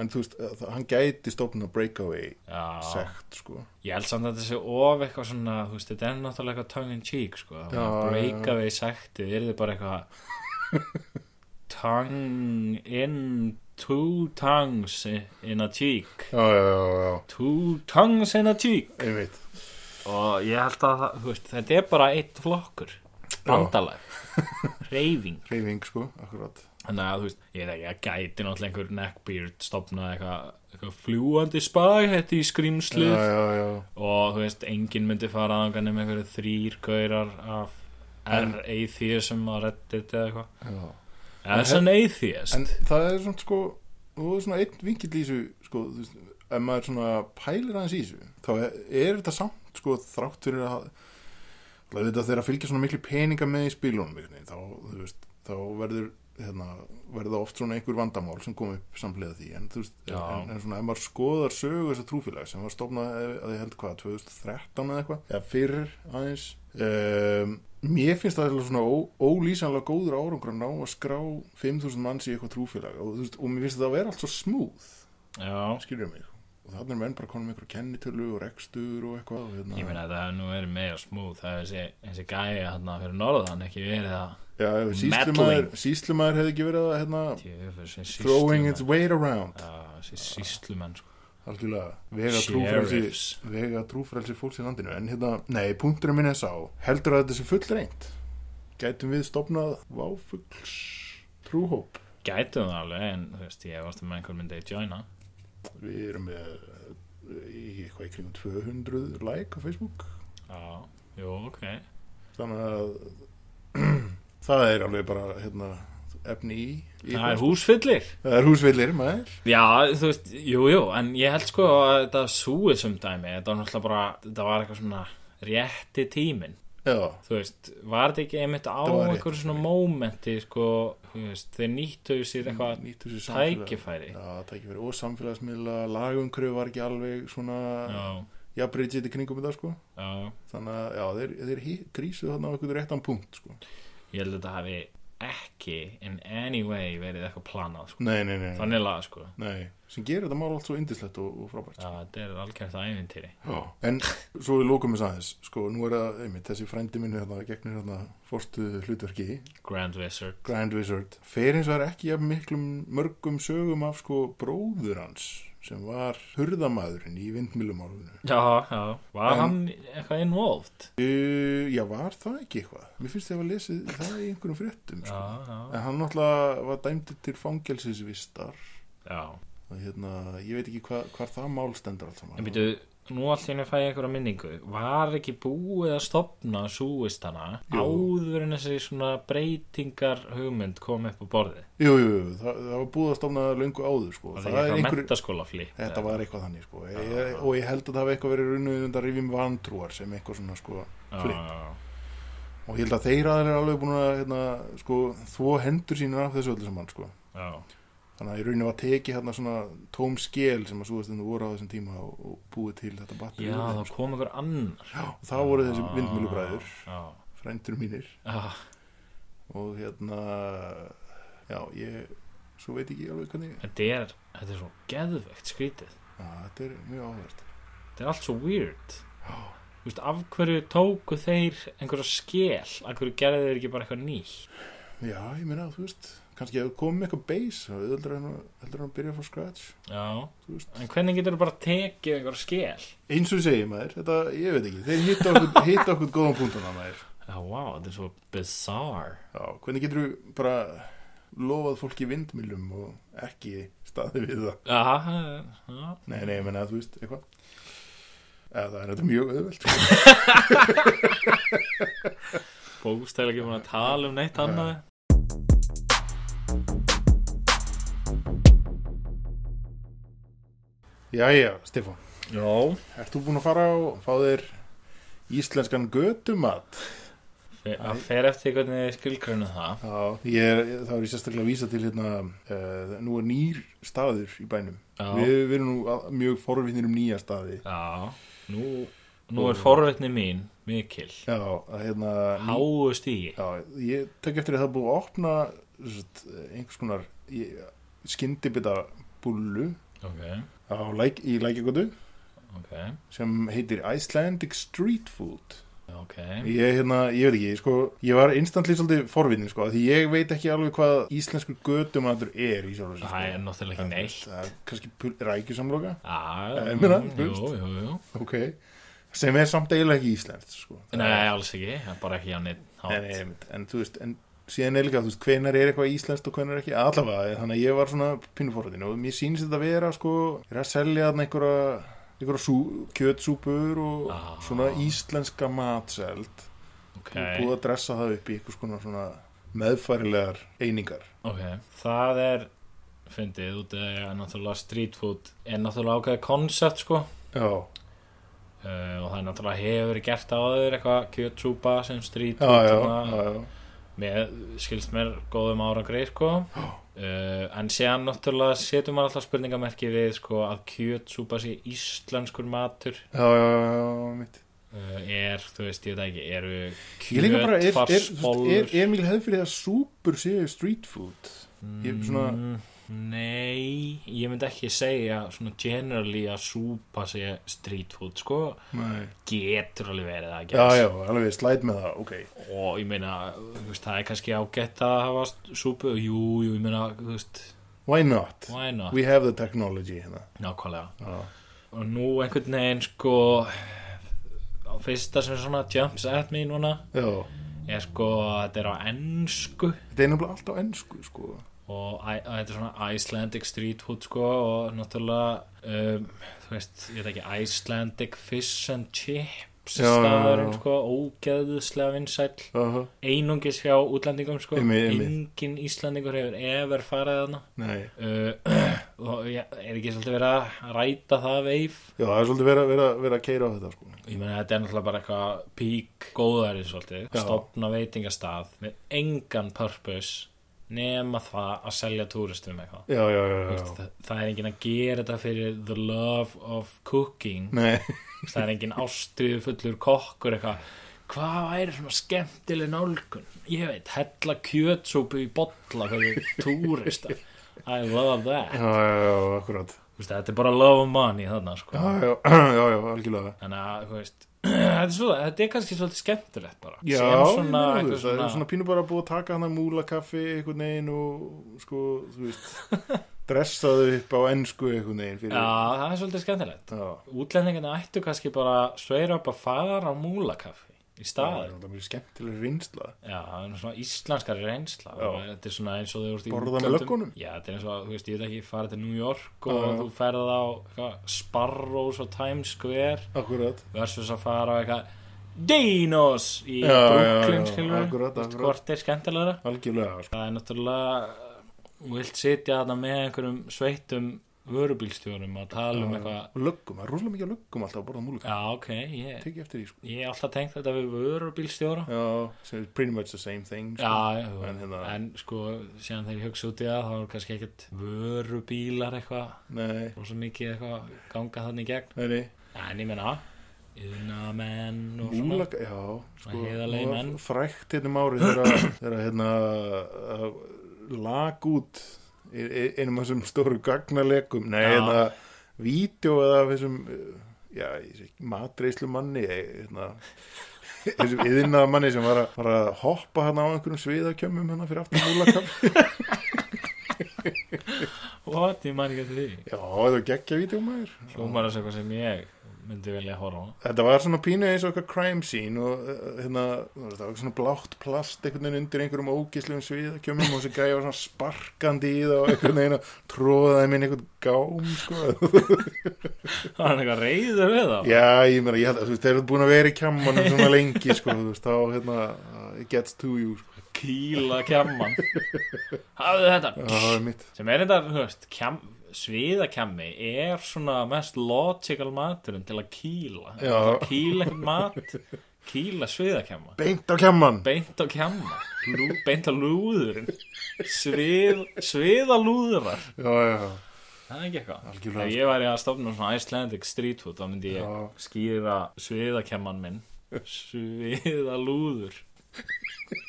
en þú veist það, hann gæti stofna breakaway já, sekt, sko Ég held samt að þetta sé of eitthvað svona, þú veist, þetta er náttúrulega eitthvað tongue in cheek, sko. Já, Það já, breaka við sæktið, er þið bara eitthvað tongue in, two tongues in a cheek. já, já, já, já, Two tongues in a cheek. einmitt Og ég held að, það- þú veist, þetta er bara eitt flokkur. Bandalag. Reyfing. hreyfing, sko, akkurat Þannig að, þú veist, ég veit ekki að gæti náttúrulega einhver neckbeard stopnað eitthvað, eitthvað fljúandi spagetti skrýmslið. já, já, já, og þú veist, enginn myndi fara aðanga nema einhverju þrýr gaurar af En- er atheism á reddit eða eitthvað já as an atheist en það er svona sko og það er svona einn vinkill í þessu sko, þú veist, ef maður svona pælir aðeins í þessu þá er, er þetta samt sko þrátt fyrir að Það er þetta þegar að fylgja svona miklu peninga með í spilunum einhvern veginn, þá, þú veist, þá verður hérna, verða oft svona einhver vandamál sem kom upp samlega því en, þú veist, Já. en, en svona ef maður skoðar sögu þessar trúfélag sem var stofnað eh, að ég held hvað 2013 eða eitthvað, eða fyrir aðeins um, mér finnst það eiginlega svona ó, ólýsanlega góður árangur að ná að skrá 5.000 manns í eitthvað trúfélag og, þú veist, og mér finnst það að vera allt svo smooth já, skilur mig og þannig er menn bara konum einhverju kennitölu og rekstur og eitthvað og, hérna, ég meina að það hefur nú verið meira smúð það hefur þessi, þessi gæja hérna fyrir norðan ekki verið að Já, ef Meddling. síslumaður, síslumaður hefði ekki verið að hérna, tjöfur, þessi throwing its síslumenn weight around Já, þessi síslumenn sko. algjörlega, vega Sheriffs. trúfrelsi vega trúfrelsi fólks í landinu en hérna, nei, punkturinn minn er sá heldur að þetta sé fullreint gætum við stopnað váfugls trúhóp gætum það alveg en þú veist, ég varst með einhver myndi að joina við erum með eh, í eitthvað í kringum 200 like á Facebook já, jú, ok þannig að það er alveg bara hérna, efni í, það í er eitthvað. húsfyllir það er húsvillir, maður Já, þú veist, jú, jú, en ég held sko að þetta súið sem dæmi, þetta var náttúrulega bara, þetta var eitthvað svona rétti tíminn, já, þú veist, var þetta ekki einmitt á var rétti einhverju svona mómenti, sko, þú veist, þeir nýttu sér eitthvað nýttu sér samfélag- tækifæri. Já, Já, tækifæri og samfélagsmiðla, lagumkröf var ekki alveg svona, já, Bridget í kringum þetta, sko. já, Þannig að, já, þeir, þeir hí- grísuðu þarna á einhvern réttan punkt, sko. ég held að þetta hafi ekki in any way verið eitthvað planað, sko, Nei, nei, nei. nei. þannig laga, sko, Nei, sem gerir þetta mál allt svo indislegt og, og frábært. já, þetta er algjörð ævintýri. Já. En svo við lókum þess aðeins, sko, nú er það, einmitt, þessi frændi minni hérna, gegnir hérna fórstuðu hlutverki, Grand Wizard, Grand Wizard, fer eins og er ekki jafn miklum mörgum sögum af, sko, bróður hans, sem var hurðamaðurinn í vindmilumálunum. já, já, var En- hann eitthvað involved? Uh, já, var það ekki eitthvað? Mér finnst ég að lesið það í einhverjum fréttum Já, sko. já, En hann náttúrulega var dæmdur til fangelsisvistar já. og hérna, ég veit ekki hva, hvar það mál stendur allt saman En býtu, nú allir henni fæ ég einhverja minningu. Var ekki búið að stopna súistana Jú. áður en þessi svona breytingar hugmynd kom upp á borði? Jú, jú, jú, það, það var búið að stofna löngu áður sko. Var Það það ekki er eitthvað einhver- mentaskóla flip? Þetta var eitthvað þannig sko. ég, og ég held að það hafi eitthvað verið runnið undan rifjum vantrúar sem eitthvað svona sko. flip. og ég held að þeir aðeins er alveg búin að hérna, sko, þvó hendur sína af þessu öllu saman sko. Já, þannig að í rauninni var tekið hérna svona tóm skél sem að súðast voru á þessum tíma og, og búið til þetta batteri já sko. Ah. úr þeim, það kom einhver annar. Og þá voru þessi vindmjölubræður, Já, Ah, frændur mínir já. og hérna, já, ég, svo veit ekki alveg hvernig, Þetta er, þetta er svo geðveikt skrítið. já, þetta er mjög áhverst. Þetta er allt svo weird. Þú veist, af hverju tóku þeir einhverja skél? Af hverju gerðu þeir ekki bara eitthvað nýtt? Já, ég meina, þú veist, kannski ef þú komið með eitthvað bass, þá er heldur hann heldur hann að byrja frá scratch, Já, þú veist. en hvernig getur þú bara tekið einhverja skél? Eins og segir maður, þetta, ég veit ekki, þeir hitta okkur, hitta okkur góðan punktana maður. Já, vá, þetta er svo bizarre Já, hvernig getur þú bara lofað fólki vindmilum og ekki staði við það Aha, já. Nei, nei, menn að þú veist, eitthvað Eða það er þetta mjög auðvelt sko. Bókstæla ekki búin að tala um neitt annað Jæja, Stefán, Já ert þú búin að fara og fá þér íslenskan götumat? Það fer eftir hvernig þið skilgrunum það Já, ég er, þá er ég sérstaklega að vísa til hérna, uh, nú er nýr staður í bænum Já. Við, við erum nú að- mjög forvittnir um nýja staði Já Nú, nú er forveitni mín mikil Já, að hérna ný- Háu stígi Já, ég tek eftir að það er búið að opna sett, einhvers konar skyndibita búlu Ok, á, læk, í lækjagotu ok, sem heitir Icelandic Street Food ok ég, hérna, ég veit ekki, sko, ég var instantly svolítið forvinni, sko, af því ég veit ekki alveg hvað íslenskur götumatur er í sjálf Það er náttúrulega ekki neitt það er kannski pul- rækjusamloka Já, Ég meina, þú jú, jú, jú ok, sem er samt eiginlega ekki íslenskt sko. Það- Nei, alls ekki, það er bara ekki á neitt en, hátt en, en þú veist, en síðan er líka, þú veist, hvenar er eitthvað íslenskt og hvenar ekki, allavega, þannig að ég var svona pinnuforðin og mér sýnist þetta að vera, sko, er að selja þarna einhverja, einhverja sú, kjötsúpur og Ah. svona íslenska matseld Ok, og búið að dressa það upp í einhvers konar svona meðfærilegar einingar. ok Það er, fyndið, út að ég er náttúrulega street food Er náttúrulega ákveðið koncept, sko Já, Uh, og það er náttúrulega hefur verið gert áður eitthvað kjötsúpa sem strít já, já, já, já, með, skilst mér, góðum árangri sko. uh, en séðan náttúrulega setur maður alltaf spurningamerki við sko, að kjötsúpa sé íslenskur matur já, já, já, mitt. uh, er, þú veist, ég veit það ekki eru Ég líka bara, er, er, er, er, kjötfarsbólur er mjög hefð fyrir það að súpur séu street food? Ég svona, Mm, nei, ég myndi ekki segja svona generally að súpa sé street food sko, nei, getur alveg verið það I já, guess. já, alveg slæt með það, ok. og ég meina, þú veist, það er kannski ágætt að hafa súpu, jú, jú, ég meina, þú veist, Why not? why not, We have the technology hérna. nákvæmlega. Já. Og nú einhvern veginn, sko, á fyrsta sem svona jumps at me núna, Já. er sko, að þetta er á ennsku Þetta er nefnilega allt á ennsku, sko. og æ- að þetta er svona Icelandic street food, sko, og náttúrulega, um, þú veist, ég veit ekki, Icelandic fish and chips, Já, já, já. staðurinn, sko, ógeðuslega vinsæll. Uh -huh. einungis hjá útlendingum sko. Einmitt, einmitt. engin Íslandingur hefur ever farið þarna Nei. uh, og ég er ekki svolítið verið að ræta það veif Já, það er svolítið verið að- verið að- verið að keira á þetta, sko. ég meina þetta er náttúrulega bara eitthvað pík góðari svolítið, Já. að stopna veitingastað með engan purpose nema það að selja túristum eitthvað Já, já, já, já. Það, það er enginn að gera þetta fyrir the love of cooking Nei. það er enginn ástriðu fullur kokkur eitthvað hvað væri svona skemmtileg nálgun ég veit, hella kjötsúpu í bolla fyrir túrista I love that Já, já, já, akkurat. Vist, þetta er bara love of money þarna sko. Já, já, já, já, algjörlega. þannig að þú veist, þetta, er svo, þetta er kannski svolítið skemmtilegt bara Já, Sem ég svona, meina, þú eitthvað veist, það er svona, svona pínu bara að búið að taka hann að múla kaffi einhvern veginn og, sko, þú veist, dressaðu upp á ennsku einhvern veginn fyrir. já, það er svolítið skemmtilegt Já. útlendingarna ættu kannski bara sveira upp að fara á múlakaffi í Það er staðin náttúrulega mjög skemmtileg reynsla. Já, það er svona íslenskari reynsla Já. og þetta er svona eins og þau voru í Borða með útlöndum. löggunum? Já, þetta er eins og, þú veist, ég veit ekki, fara til New York og Já, já. þú ferð á eitthvað, Sparrows og Times Square Akkurat. versus að fara á eitthvað Dinos í Já, já, Brooklyn, já, skilur akkurat, akkurat. Hvort er skemmtilegra? Algjörlega, sko. Það er náttúrulega, þú vilt sitja þarna með einhverjum sveittum vörubílstjórum og tala um eitthvað Og löggum, það er rosalega mikið af löggum alltaf að borða múla kaffi. Já, ok, ég, Tekið eftir því, sko. ég er alltaf tengt þetta við vörubílstjóra Já, so it's pretty much the same thing sko. Já, já, en en, hérna, sko síðan þegar ég hugsa út í það þá er kannski ekkert vörubílar eitthvað nei, og svo mikið eitthvað ganga þannig í gegn nei, nei en ég menna yðnamenn og svona Múlaka, já, sko Svona heiðarlegir það var menn. Frækt hérna um árið þegar, þegar hérna uh, lag út í- í- einum af þessum stóru gagnalekum nei, Já. hérna, vídeo eða af þessum uh, já, ég sé ekki, matreislu manni hérna þessum yðinnaða manni sem var að, var að hoppa hann á einhverjum sviðakjömmum hérna fyrir aftur múlakaffi what, ég man ekki eftir því já, það var geggja vídeo maður hljómar þessu eitthvað sem ég myndi vilja horfa á hana. Þetta var svona pínu eins og eitthvað crime scene og uh, hérna, þú veist, það var svona blátt plast einhvern veginn undir einhverjum ógíslum svið kjömmum og þessi gæja var svona sparkandi í það og einhvern veginn og tróðaði minn einhvern gám, sko Var hann eitthvað reyður við þá? Já, ég meina, ég held að þú veist, þeir eru búin að vera í kjammanum svona lengi, sko, þú veist, þá hérna, uh, it gets to you, sko, Kýla kjamman. Hafðu þetta. það er mitt Sem er þetta, þú veist, kjam, sviðakjammi er svona mest logical maturinn til að kýla. Já. Að Kýla eitthvað mat, kýla sviðakjamma. Beint á kjamman Beint á kjamma, lú, beint á lúðurinn, svið, sviða lúðurar. Já, já, Það er ekki eitthvað. Algjörlega. Ef ég væri að stofna svona Icelandic street food, þá myndi ég Já. skýra sviðakemman minn. Sviðalúður.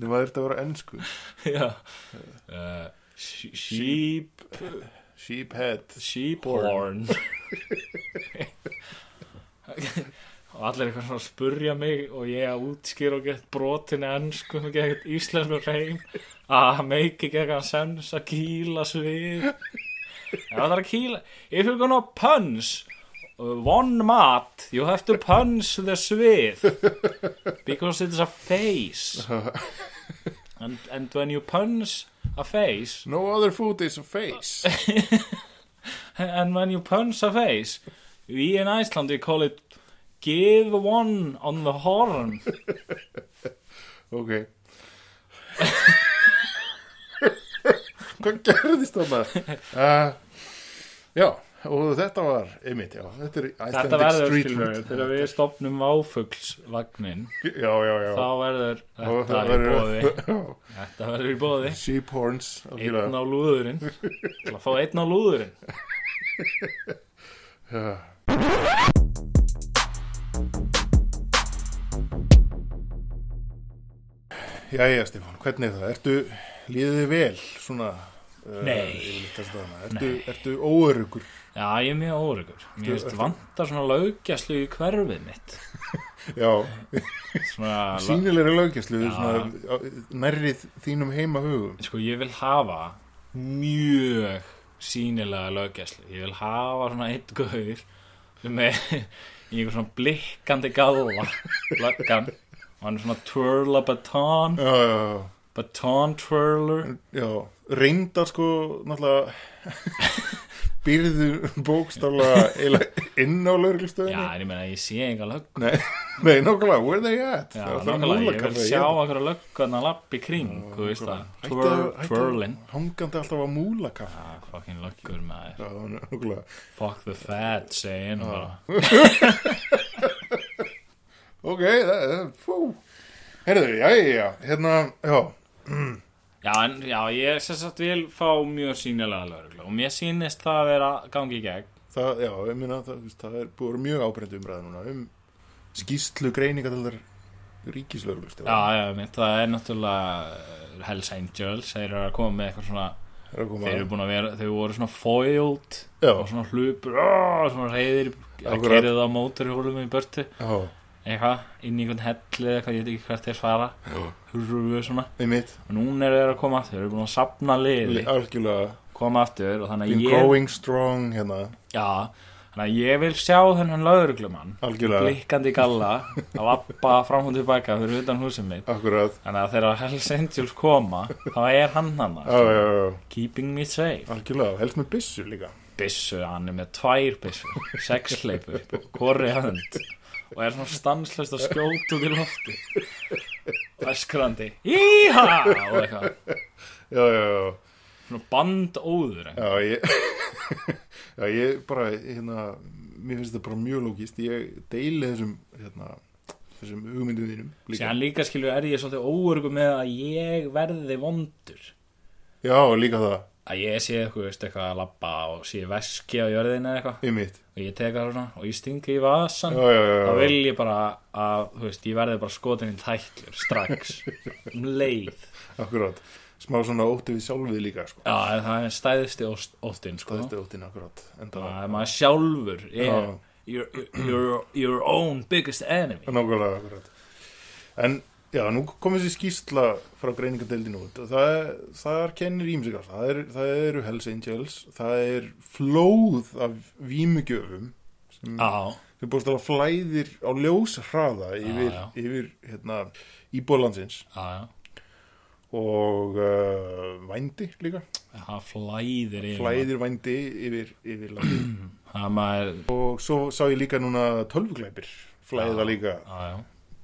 þetta var þetta að vera ennsku Já. Uh, sh- sheep, Sheephead sheep horn. og allir eitthvað svona að spurja mig og ég að útskýra og gett brotin ennsku og gett íslensku Ah, reym að það meiki ekki eitthvað sens að kýla svið ef það er að kýla if you're gonna punch uh, one mat you have to punch the svið because it's a face and, and when you punch a face No other food is a face and when you punch a face we in Iceland we call it give one on the horn Ok Hvað gerðist þarna? Uh, já, og þetta var einmitt, já, þetta er Þetta Icelandic verður Street skilur Food þegar við stopnum váfuglsvagnin Já, já, já þá verður Og þetta í bóði verður- Þetta verður í bóði Sheep horns Einn algjörlega. á lúðurinn Til að fá einn á lúðurinn Já. Jæja, Stefán, hvernig er það? Ertu, líðið þið vel svona uh, Nei. yfirleitt þessa dagana? Ertu, ertu óörugur? Já, ég er mjög óregur Mér finnst vantar svona lögjaslu í hverfið mitt Já, Svona sínilegri löggjæslu Já. svona, á- nærri þínum heima hugum sko ég vil hafa mjög sínilega löggæslu ég vil hafa svona eitt gauður sem er í einhver svona blikkandi galla blakkan og hann er svona twirla baton já, já, baton twirler já, já reyndar sko náttúrulega byrðu bókstaflega eiginlega inn á já löggjæsluðinni en ég meina ég sé enga lögg nei, nei, nákvæmlega, where they at já, Það var það nákvæmlega, ég vil múlakaffi að sjá gera. okkur löggana lapp í kring þú veist það, Hættu twir, að- hættu að- twirling hangandi alltaf á múlakaffi ah, fucking löggur maður já, nákvæmlega fuck the fat segin og bara ok, það er fú herðu, já, já, já, hérna já, Já, en, já, ég sem sagt vil fá mjög sínilega lögreglu og mér sýnist það að vera gangi í gegn. það, já, ég meina það, þú veist, það er búið að vera mjög ábreynd umræða núna um skýslu greininga til þar Já, ríkislögulust já, mitt, það er náttúrulega eh, Hells Angels, þeir eru að koma með eitthvað svona, Þeir þeir eru búin að vera, þeir voru svona foiled Já. og svona hlupur, aah, svona reyðir, að Akkurat. kerið á móturhjólum í börtu, Já, eitthvað, inn í einhvern helli eða eitthvað, ég veit ekki hvert þeir fara, hurruðu svona. einmitt Og núna eru þeir að koma aftur, þeir eru búin að sapna liði, Algjörlega koma aftur og þannig Been að ég, growing strong hérna já, þannig að ég vil sjá þennan lögreglumann Algjörlega blikkandi galla að lappa fram og tilbaka fyrir utan húsið mitt Akkurat þannig að þegar Hells Angels koma þá er hann hann Já, já, já, já. keeping me safe algjörlega Helst með byssu líka byssu, hann er með tvær byssu sexleipur, korri hönd og er svona stanslöst að skjóta út í lofti og eskrandi íha og eitthvað Já, já, já svona bandóður Já, ég Já, ég bara, hérna Mér finnst þetta bara mjög lógist Ég deili þessum, hérna Þessum hugmyndum þínum Sér líka hann líka skilur er ég svolítið óörgu með að ég verði vondur Já, líka það, að ég sé eitthvað, veist, eitthvað að labba og sé veski á jörðinu eða eitthvað einmitt og ég teka það svona og ég stingi í vasan Já, já, já, já. þá vil ég bara að, þú veist, ég verði bara skotin í tætlur strax, um leið Akkurat Smá svona ótti við sjálfið líka, sko já, en það er stæðisti óst- óttinn sko. Þetta er óttin, akkurat Enda það er maður sjálfur er, Já. your, your, your own biggest enemy Nákvæmlega, akkurat. En já, nú kom þessi skýrsla frá greiningadeildinu út og það, það kennir ímsikar. Það, er, það eru Hells Angels, það er flóð af vímugjöfum Mm. á, þau búist að flæðir á ljós hraða yfir, já. yfir hérna, íbólandsins á, já og uh, vændi líka það flæðir yfir flæðir vændi yfir, yfir landi það maður, og svo sá ég líka núna tölvuglæpir flæða líka á, já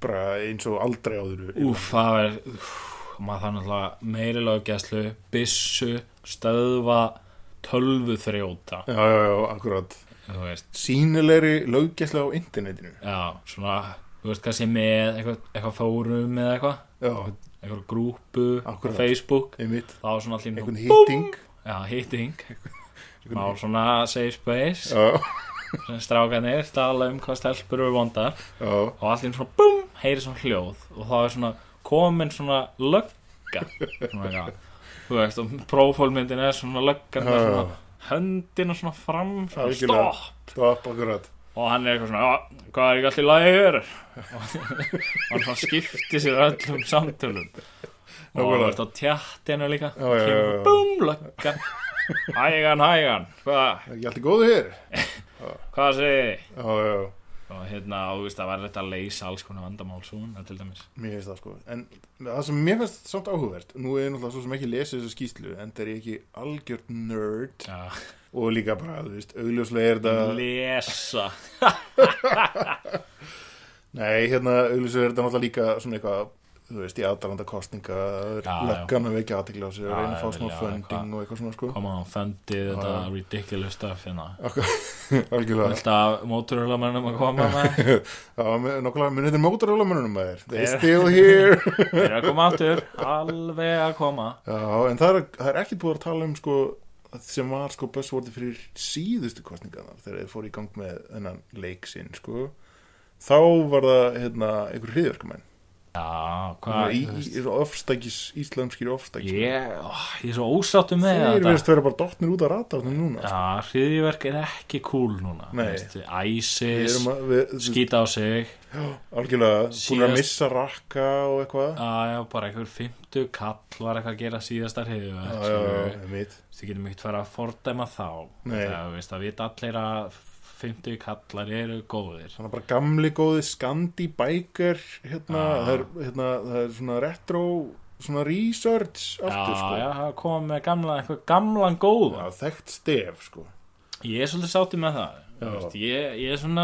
bara eins og aldrei áður yfir Úf, það var úff, maður þarf náttúrulega meiri löggæslu byssu, stöðva tölvu þrjóta Já, já, já, akkurat. þú veist, Sýnilegri löggjæsla á internetinu. já, svona þú veist kannski með eitthvað, eitthvað fórum eða eitthvað, Já, eitthvað grúpu Akkúrat. Facebook, einmitt. það var svona allir Einhvern hitting. já, hitting má svona safe space Já, sem strákanir tala um hvað stelpur eru vondar já, og allir svona bum, heyri svona hljóð og það er svona komin svona lögga svona eitthvað þú veist og prófólmyndin er svona löggan með Já. svona höndina svona fram svona Algjörlega. stopp stopp, akkurat. og hann er eitthvað svona "Já, hvað er ekki allir lægur og hann svona skipti sér öllum samtölum og þú Nákvæmlega. veist á tjattinu líka Já, já, já, já. kemur bum löggan hægan hægan hvað Það er ekki allt í góðu hér. hva segir þið Já, já, já, og hérna og þú veist það var þetta að leysa alls konar vandamál svona til dæmis mér finnst það sko. En það sem mér finnst samt áhugavert, nú er ég náttúrulega svo sem ekki lesið þessa skýslu, en það er ég ekki algjört nerd já og líka bara, þú veist, augljóslega er þetta, lesa nei, hérna, augljóslega er þetta náttúrulega líka svona eitthvað, þú veist, í aðdalanda kostninga, Já, já. löggan að vekja aðtekla á sig og Já, reyna já, að fá smá vilja eitthvað- funding og eitthvað svona sko. koma á fendi þetta Já. ridiculous stuff hérna Akkur- Algjörlega. alltaf móturhulamennum að koma með Já, með- nokkulega munið þetta mótorhjólamönunum að þér They still here þeir eru að koma aftur alveg að koma Já, en það er, það er ekki búið að tala um sko, sem var sko buzzwordi fyrir síðustu kostningarnar þegar þið fóru í gang með þennan leik sinn sko. þá var það hérna, einhver hriðverkumenn já hvað í, í, ofstækis, íslamskir ofstækis Ah, ég, ó, ég er svo ósáttu með sko. þeir þetta Ah, verðist vera bara dottnir út að rata núna já hriðiverk er ekki cool núna Nei. veist, Við ISIS erum að, við, skýta á sig algjörlega, búin að Síðast- missa rakka og eitthvað að já bara einhver 50 kall var eitthvað að gera síðastar Já, já, já, hriðiverk einmitt. þú getum ekkert fara að fordæma þá Nei. það veist að vita allir að 50 kallar eru góðir Þannig bara gamli góði Skandi Biker hérna, Ah. það, er, hérna, það er svona retro svona research aftur já, sko já, það kom með gamla, eitthvað gamlan góða Já, þekkt stef sko ég er svolítið sáttið með það Þú veist, ég, ég er svona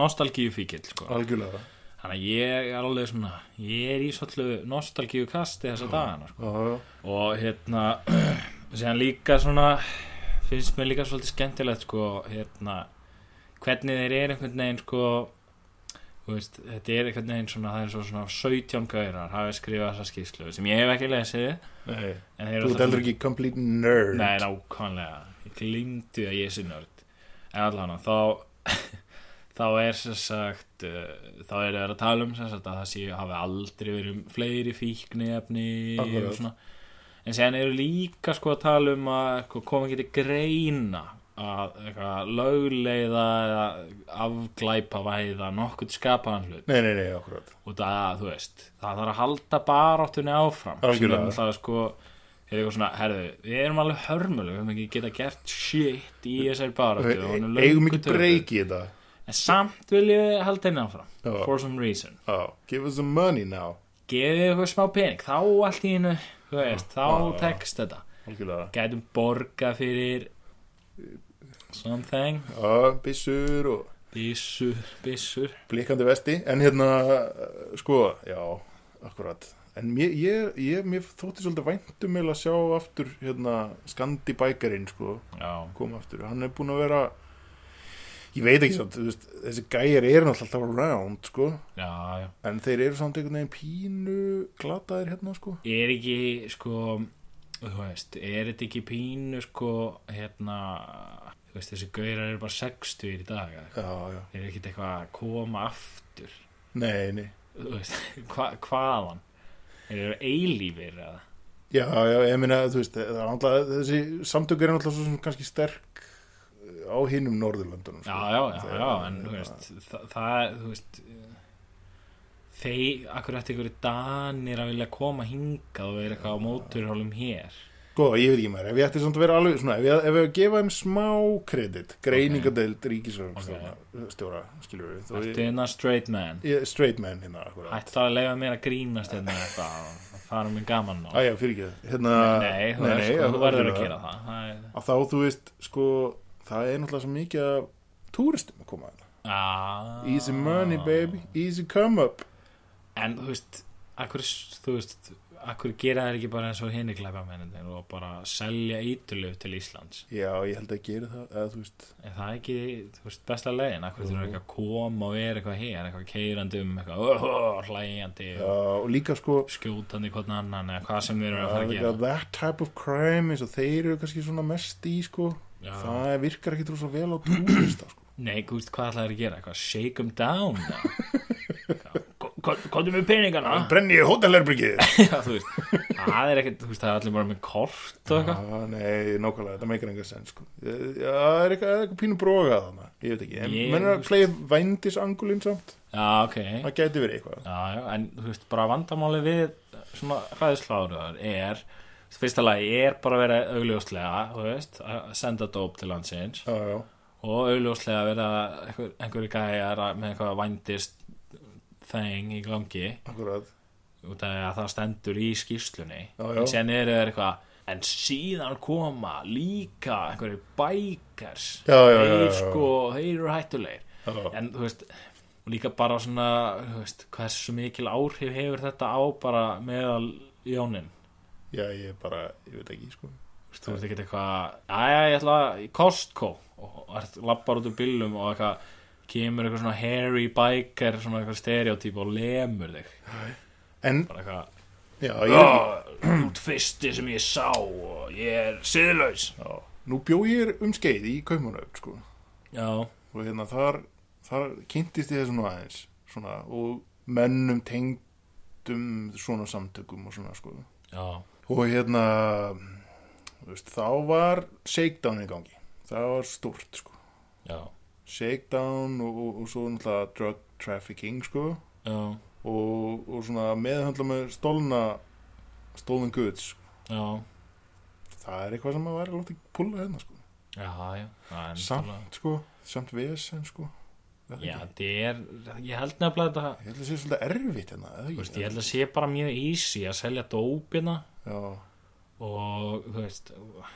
nostalgíu fíkil sko. Algjörlega þannig að ég er alveg svona ég er í svolítið nostalgíu kasti þessa dagana sko. Já, já, og hérna síðan líka svona finnst mér líka svolítið skemmtilegt sko, hérna, hvernig þeir eru einhvern veginn sko þú Veist, þetta er einhvern veginn svona, það er svo svona 17 gaurar hafið skrifað þessa skýrslu sem ég hef ekki lesið nei en þeir eru Þú alltaf ert heldur ekki complete nerd Nei, nákvæmlega Ég glimti að ég sé nörd En allan þá þá er sem sagt uh, þá er það að tala um sem sagt að það séu hafi aldrei verið um fleiri fíkniefni Akkurat. og svona en séðan eru líka sko að tala um að eitthvað koma ekki til greina að eitthvað lögleiða eða afglæpa væða nokkuð skapaðan hlut Nei, nei, nei, akkurat og það, þú veist, það þarf að halda baráttunni áfram sem Algjörlega. er náttúrulega sko er eitthvað svona, herðu, við erum alveg hörmuleg við höfum ekki geta gert shit í þessari baráttu Við og hún er löngu eigum ekki töpuð. breyk í þetta en samt viljum við halda henni áfram Já. for some reason, Já, give us some money now gefið okkur smá pening þá allt í hennu, þú veist þá Ah. tekst þetta, Algjörlega gætum borga fyrir something Já, byssur og byssur, byssur blikandi vesti en hérna, uh, sko, já akkurat, en mér, ég, ég mér þótti svolítið væntum eða að sjá aftur, hérna, Skandi bækarinn sko, já, koma aftur, hann er búin að vera ég veit ekki samt, þú veist þessi gæjar eru náttúrulega alltaf around sko, já, já en þeir eru samt einhvern veginn pínu glataðir hérna, sko er ekki sko þú veist, er þetta ekki pínu sko hérna þú veist, þessi gaurar eru bara 60 í dag eða eitthvað. já, já, þeir eru ekkit eitthvað að koma aftur nei, nei þú veist, hva, hvaðan þeir eru eilífir eða já, já, ég meina, þú veist, það er náttúrulega þessi samtök eru náttúrulega svo sem kannski sterk uh, á sko. hinnum Norðurlandunum já, já, já, já, en þú veist það, það þú veist þeir, akkur eftir einhverju danir að vilja koma hingað og vera eitthvað á móturhálum hér Sko, ég veit ekki maður, ef ég ætti samt að vera alveg svona, ef ég, ef ég að gefa þeim smá kredit, greiningadeild okay. ríkisstjóra, skilur við, þó Ertu ég, hérna straight man ég, straight man hérna, akkurat. Ættu að leifa mér að grínast hérna eitthvað og fara mér gaman og Æja, fyrir ekki það, hérna, Nei, þú, nei, sko, þú verður að gera það Það er- Að þá, þú veist, sko, það er náttúrulega svo mikið af túristum að koma að það. Ah. Easy money, baby, easy come up. En þú veist, akkur, þú veist akkur gera þær ekki bara eins og hinni glæpamennin og bara selja ítlöf til Íslands Já, ég held að gera það, eða þú veist, en það er ekki, þú veist, besta leiðin akkur þurfum ekki að koma og vera eitthvað hér eitthvað keirandi um, eitthvað oh, hlægjandi já, og líka, sko, skjótandi hvort annan eða hvað sem þeir eru að Það fara er að líka gera that type of crime eins og þeir eru kannski svona mest í sko Já. það virkar ekki trúsa vel á túrista sko. Nei, þú veist, hvað ætlaði að gera? Hvað, shake them down? Kóttu með peningana? Brenni í hótelherbyggið Já, þú veist, það er ekkert, þú veist, það er allir bara með kort og eitthvað. ah, Nei, nákvæmlega, þetta meikar enga sen sko. Já, það er eitthvað, eitthvað pínu broga þarna Ég veit ekki, en Ég- menn er að kleið vændisangulinn samt Já, ok. Það gæti verið eitthvað Já, já, en þú veist, bara vandamáli við svona hræðisláruðar er, þú veist, fyrsta lagi er bara að vera augljóslega, þú veist, að senda dóp til landsins Já, já, og augljóslega að vera einhver, einhverju gæjar að- með eitthvað vændist þeng í gangi. akkurat út af því að það stendur í skýrslunni Já, já. en síðan eru þeir eitthvað en síðan koma líka einhverju bækers Já, já, já, já, þeir já. sko, þeir eru hættulegir Já, já. en þú veist og líka bara svona, þú veist, hversu mikil áhrif hefur þetta á bara meðal jónin Já, ég bara, ég veit ekki Þú sko veist, þú veist ekki eitthvað, aðja, ég ætla að- í Costco og ert- labbar út úr bílum og eitthvað, kemur eitthvað svona hairy biker, svona eitthvað stereotyp og lemur þig, En, bara eitthvað já, ég er ekki Já, út fyrsti sem ég sá og ég er siðlaus já. Nú bjó ég um skeið í Kaumanöf sko Já, og hérna þar, þar kynntist ég þessu nú aðeins svona, og mönnum tengdum svona samtökum og svona sko. já, og hérna þú veist, þá var shakedown í gangi það var stort sko. já, shakedown og, og, og svo náttúrulega drug trafficking sko. já, og, og svona meðhandla með stólna stolen goods sko. já það er eitthvað sem að vera látið púla hérna sko. Já, já, það er náttúrulega- samt sko, samt vesen sko. Það er Já, ekki- þetta er, ég held nefnilega þetta ég held að sé svolítið erfitt hérna eða ekki? Þú veist, ég held að sé bara mjög easy að selja dópina Já, og, þú veist,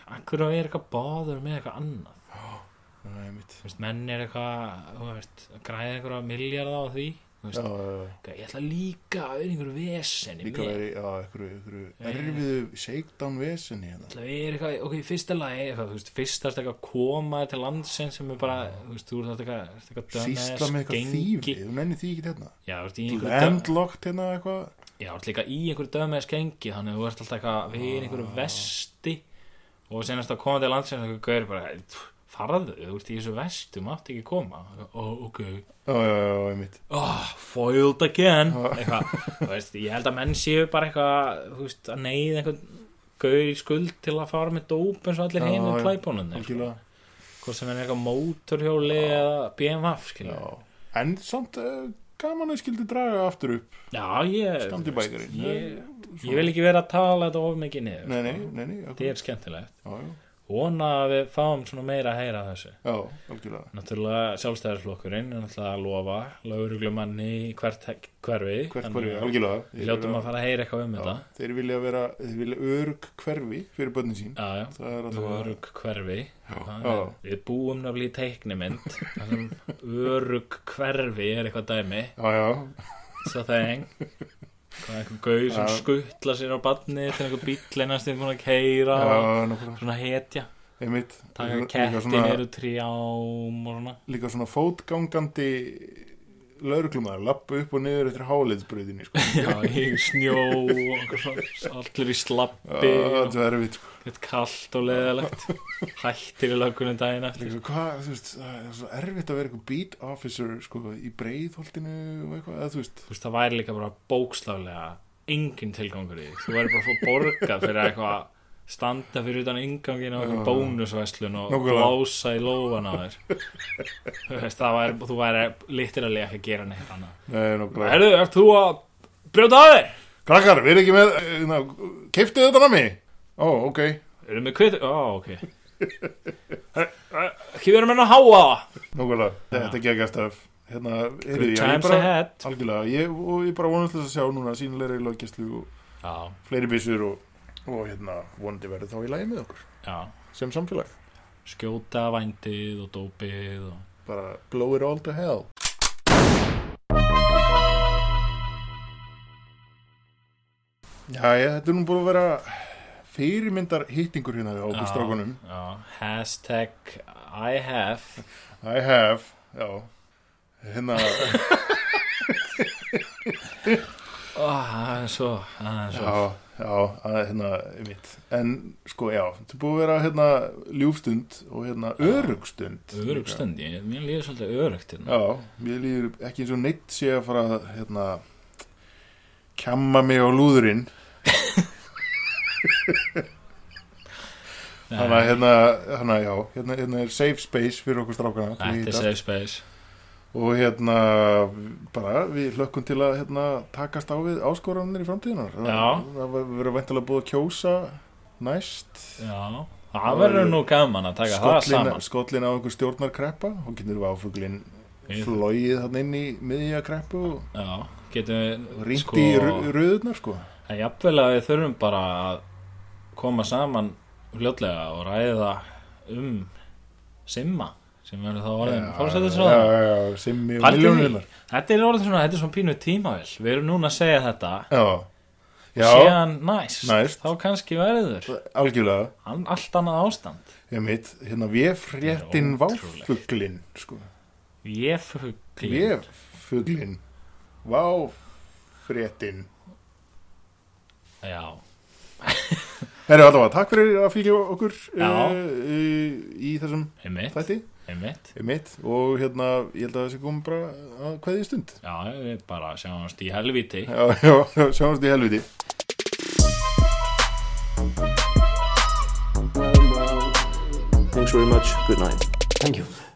akkur að vera eitthvað báður með eitthvað annað það er mitt Þú veist, menn er eitthvað, þú veist, að græða eitthvað miljarda á því Þú Já, veist, já, já. ég ætla líka að vera einhverju vesenni Líka með. verið, já, einhverju, einhverju erfiðu shakedown vesenni hérna. Það er eitthvað, ok, í fyrsta lagi eitthvað, þú veist, fyrstast eitthvað koma til landsins sem er bara, þú veist, þú ert þetta eitthvað ert eitthvað dönnes, Sýsla með eitthvað þýfi, gengi- þú nennir því ekki hérna. Já, þú ert í einhverju dönnes Landlocked hérna eitthvað. Já, þú ert líka í einhverju dönnes gengi þannig að þú ert alltaf eitthvað við einhverju Ah. vesti og senast að koma til landsins eitthvað gaur bara, "Pff, farðu, þú ert í þessu vesti þú mátt ekki koma, ó, ok Já, já, já, já, einmitt. oh, foiled again Ah. eitthvað, þú veist, ég held að menn séu bara eitthvað, þú veist, að neyð einhvern gaur í skuld til að fara með dóp eins og allir Já, hinum já, klæbónunni sko. Algjörlega. Ah. hvort sem er eitthvað mótorhjóli eða BMF skilur Já. já, En samt uh, gaman að skildi draga aftur upp ég, standi bækurinn. ég, ég vil ekki vera að tala þetta of mikið niður Nei, nei, nei, nei. akkurat. þetta er skemmtilegt Já, já, vona að við fáum svona meira að heyra af þessu já, algjörlega. náttúrulega sjálfstæðarflokkurinn er náttúrulega að lofa lauruglumanni í hvert hek- hverfi Hvert Þannig hverju, að algjörlega. eh, við hljótum að fara að heyra eitthvað um Já, þetta Þeir vilja vera, þeir vilja örg hverfi fyrir börnin sín. já, já Það er alltaf að... Örug hverfi Það Já. er, Við búum náttúrulega í teiknimynd þar sem Örug hverfi er eitthvað dæmi Já, já, svo þeng hvað er einhver gauð sem Já. skuttla sér á badni til einhver bíll einast þeim búin að keira já, og nákvæmlega. svona hetja Einmitt. taka Líka kettin svona- eru trjám og svona líka svona fótgangandi lauruglumar, lappa upp og niður eftir háliðsbröðinni sko. já, í snjó og einhver svona- allir í slappi Ah, og þetta er erfitt sko. þetta er kallt og leðalegt hættir í lögunum daginn Líka eftir svo, hvað, þú veist, það er svo erfitt að vera eitthvað beat officer sko, í breiðholtinu og eitthvað, eða þú veist þú veist það væri líka bara bókstaflega engin tilgangur í því. þú væri bara að fá borgað fyrir eitthvað standa fyrir utan ingangin á einhver Já. bónusvæslun og Nákvæmlega. blása í lófan á þér þú veist það væri þú væri litiralið ekki að gera neitt annað Nei, nákvæmlega. Herðu, ert þú að brjóta að þér? eh, hérna, Krakkar, við erum ekki með uh, keiftið þetta nami? Ó, ok, Erum við kvitið? Ó, ok Eh, eh, Ekki verið menn að háa það Nógulega, þetta geggjast af Hérna, heyrðu, Good já, ég times bara, ahead Algjörlega, ég, og ég bara vonast þess að sjá núna sínilegri löggjastlu og Já, fleiri byssur og, og hérna, vonandi verður þá í lagi með okkur já sem samfélag. Skjóta vændið og dópið og... Bara blow it all to hell. Já, ég, þetta er nú búin að vera fyrirmyndar hittingur hérna á okkur strákunum. Já, hashtag I have I have, já, hérna, Ó, Það er svo, það er svo já, já, að, hérna, mitt. En, sko, já, þetta er búin að vera, hérna, ljúfstund og, hérna, örugstund. Örug stund, ég, mér líður svolítið örugt hérna. Já, mér líður ekki eins og neitt sé að fara að, hérna, kjamma mig á lúðurinn. Nei, Þannig að, hérna, hérna, já, hérna, hérna er safe space fyrir okkur strákana. til að Þetta er hittast. safe space Og, hérna, bara, við hlökkum til að, hérna, takast á við áskoranir í framtíðunar. Já. Það verður væntalega búið að kjósa næst. Já, það verður nú gaman að taka það saman skollin á einhver stjórnarkreppa og getur við áfuglin Ég- flóið þarna inn í miðja kreppu og Já, getum við rýnt í ru- röðurnar sko Það er jafnvel að við þurfum bara að koma saman fljótlega og ræða um Simma sem verður þá orðin Já, fórsættisráðan. já, já, simmi og Pældu í því. miljónirnar Þetta er orðin svona, þetta er svona pínu tímavill. Við erum núna að segja þetta Já, já, síðan næst. Næst. Þá kannski verður algjörlega an- allt annað ástand. Ég mitt, hérna við fréttin Það er ótrúlegt. váfuglin sko Ég fugglín. Við fuglin Váfréttin Já. Herra allavega, takk fyrir að fylgja okkur Já. uh, í, í þessum Einmitt. þætti Einmitt. Mitt, og hérna, ég held að það sé komið bara að kveðja í stund Já, við bara sjáumst í helviti. Já, já, sjáumst í helviti Thanks very much. Good night. Thank you.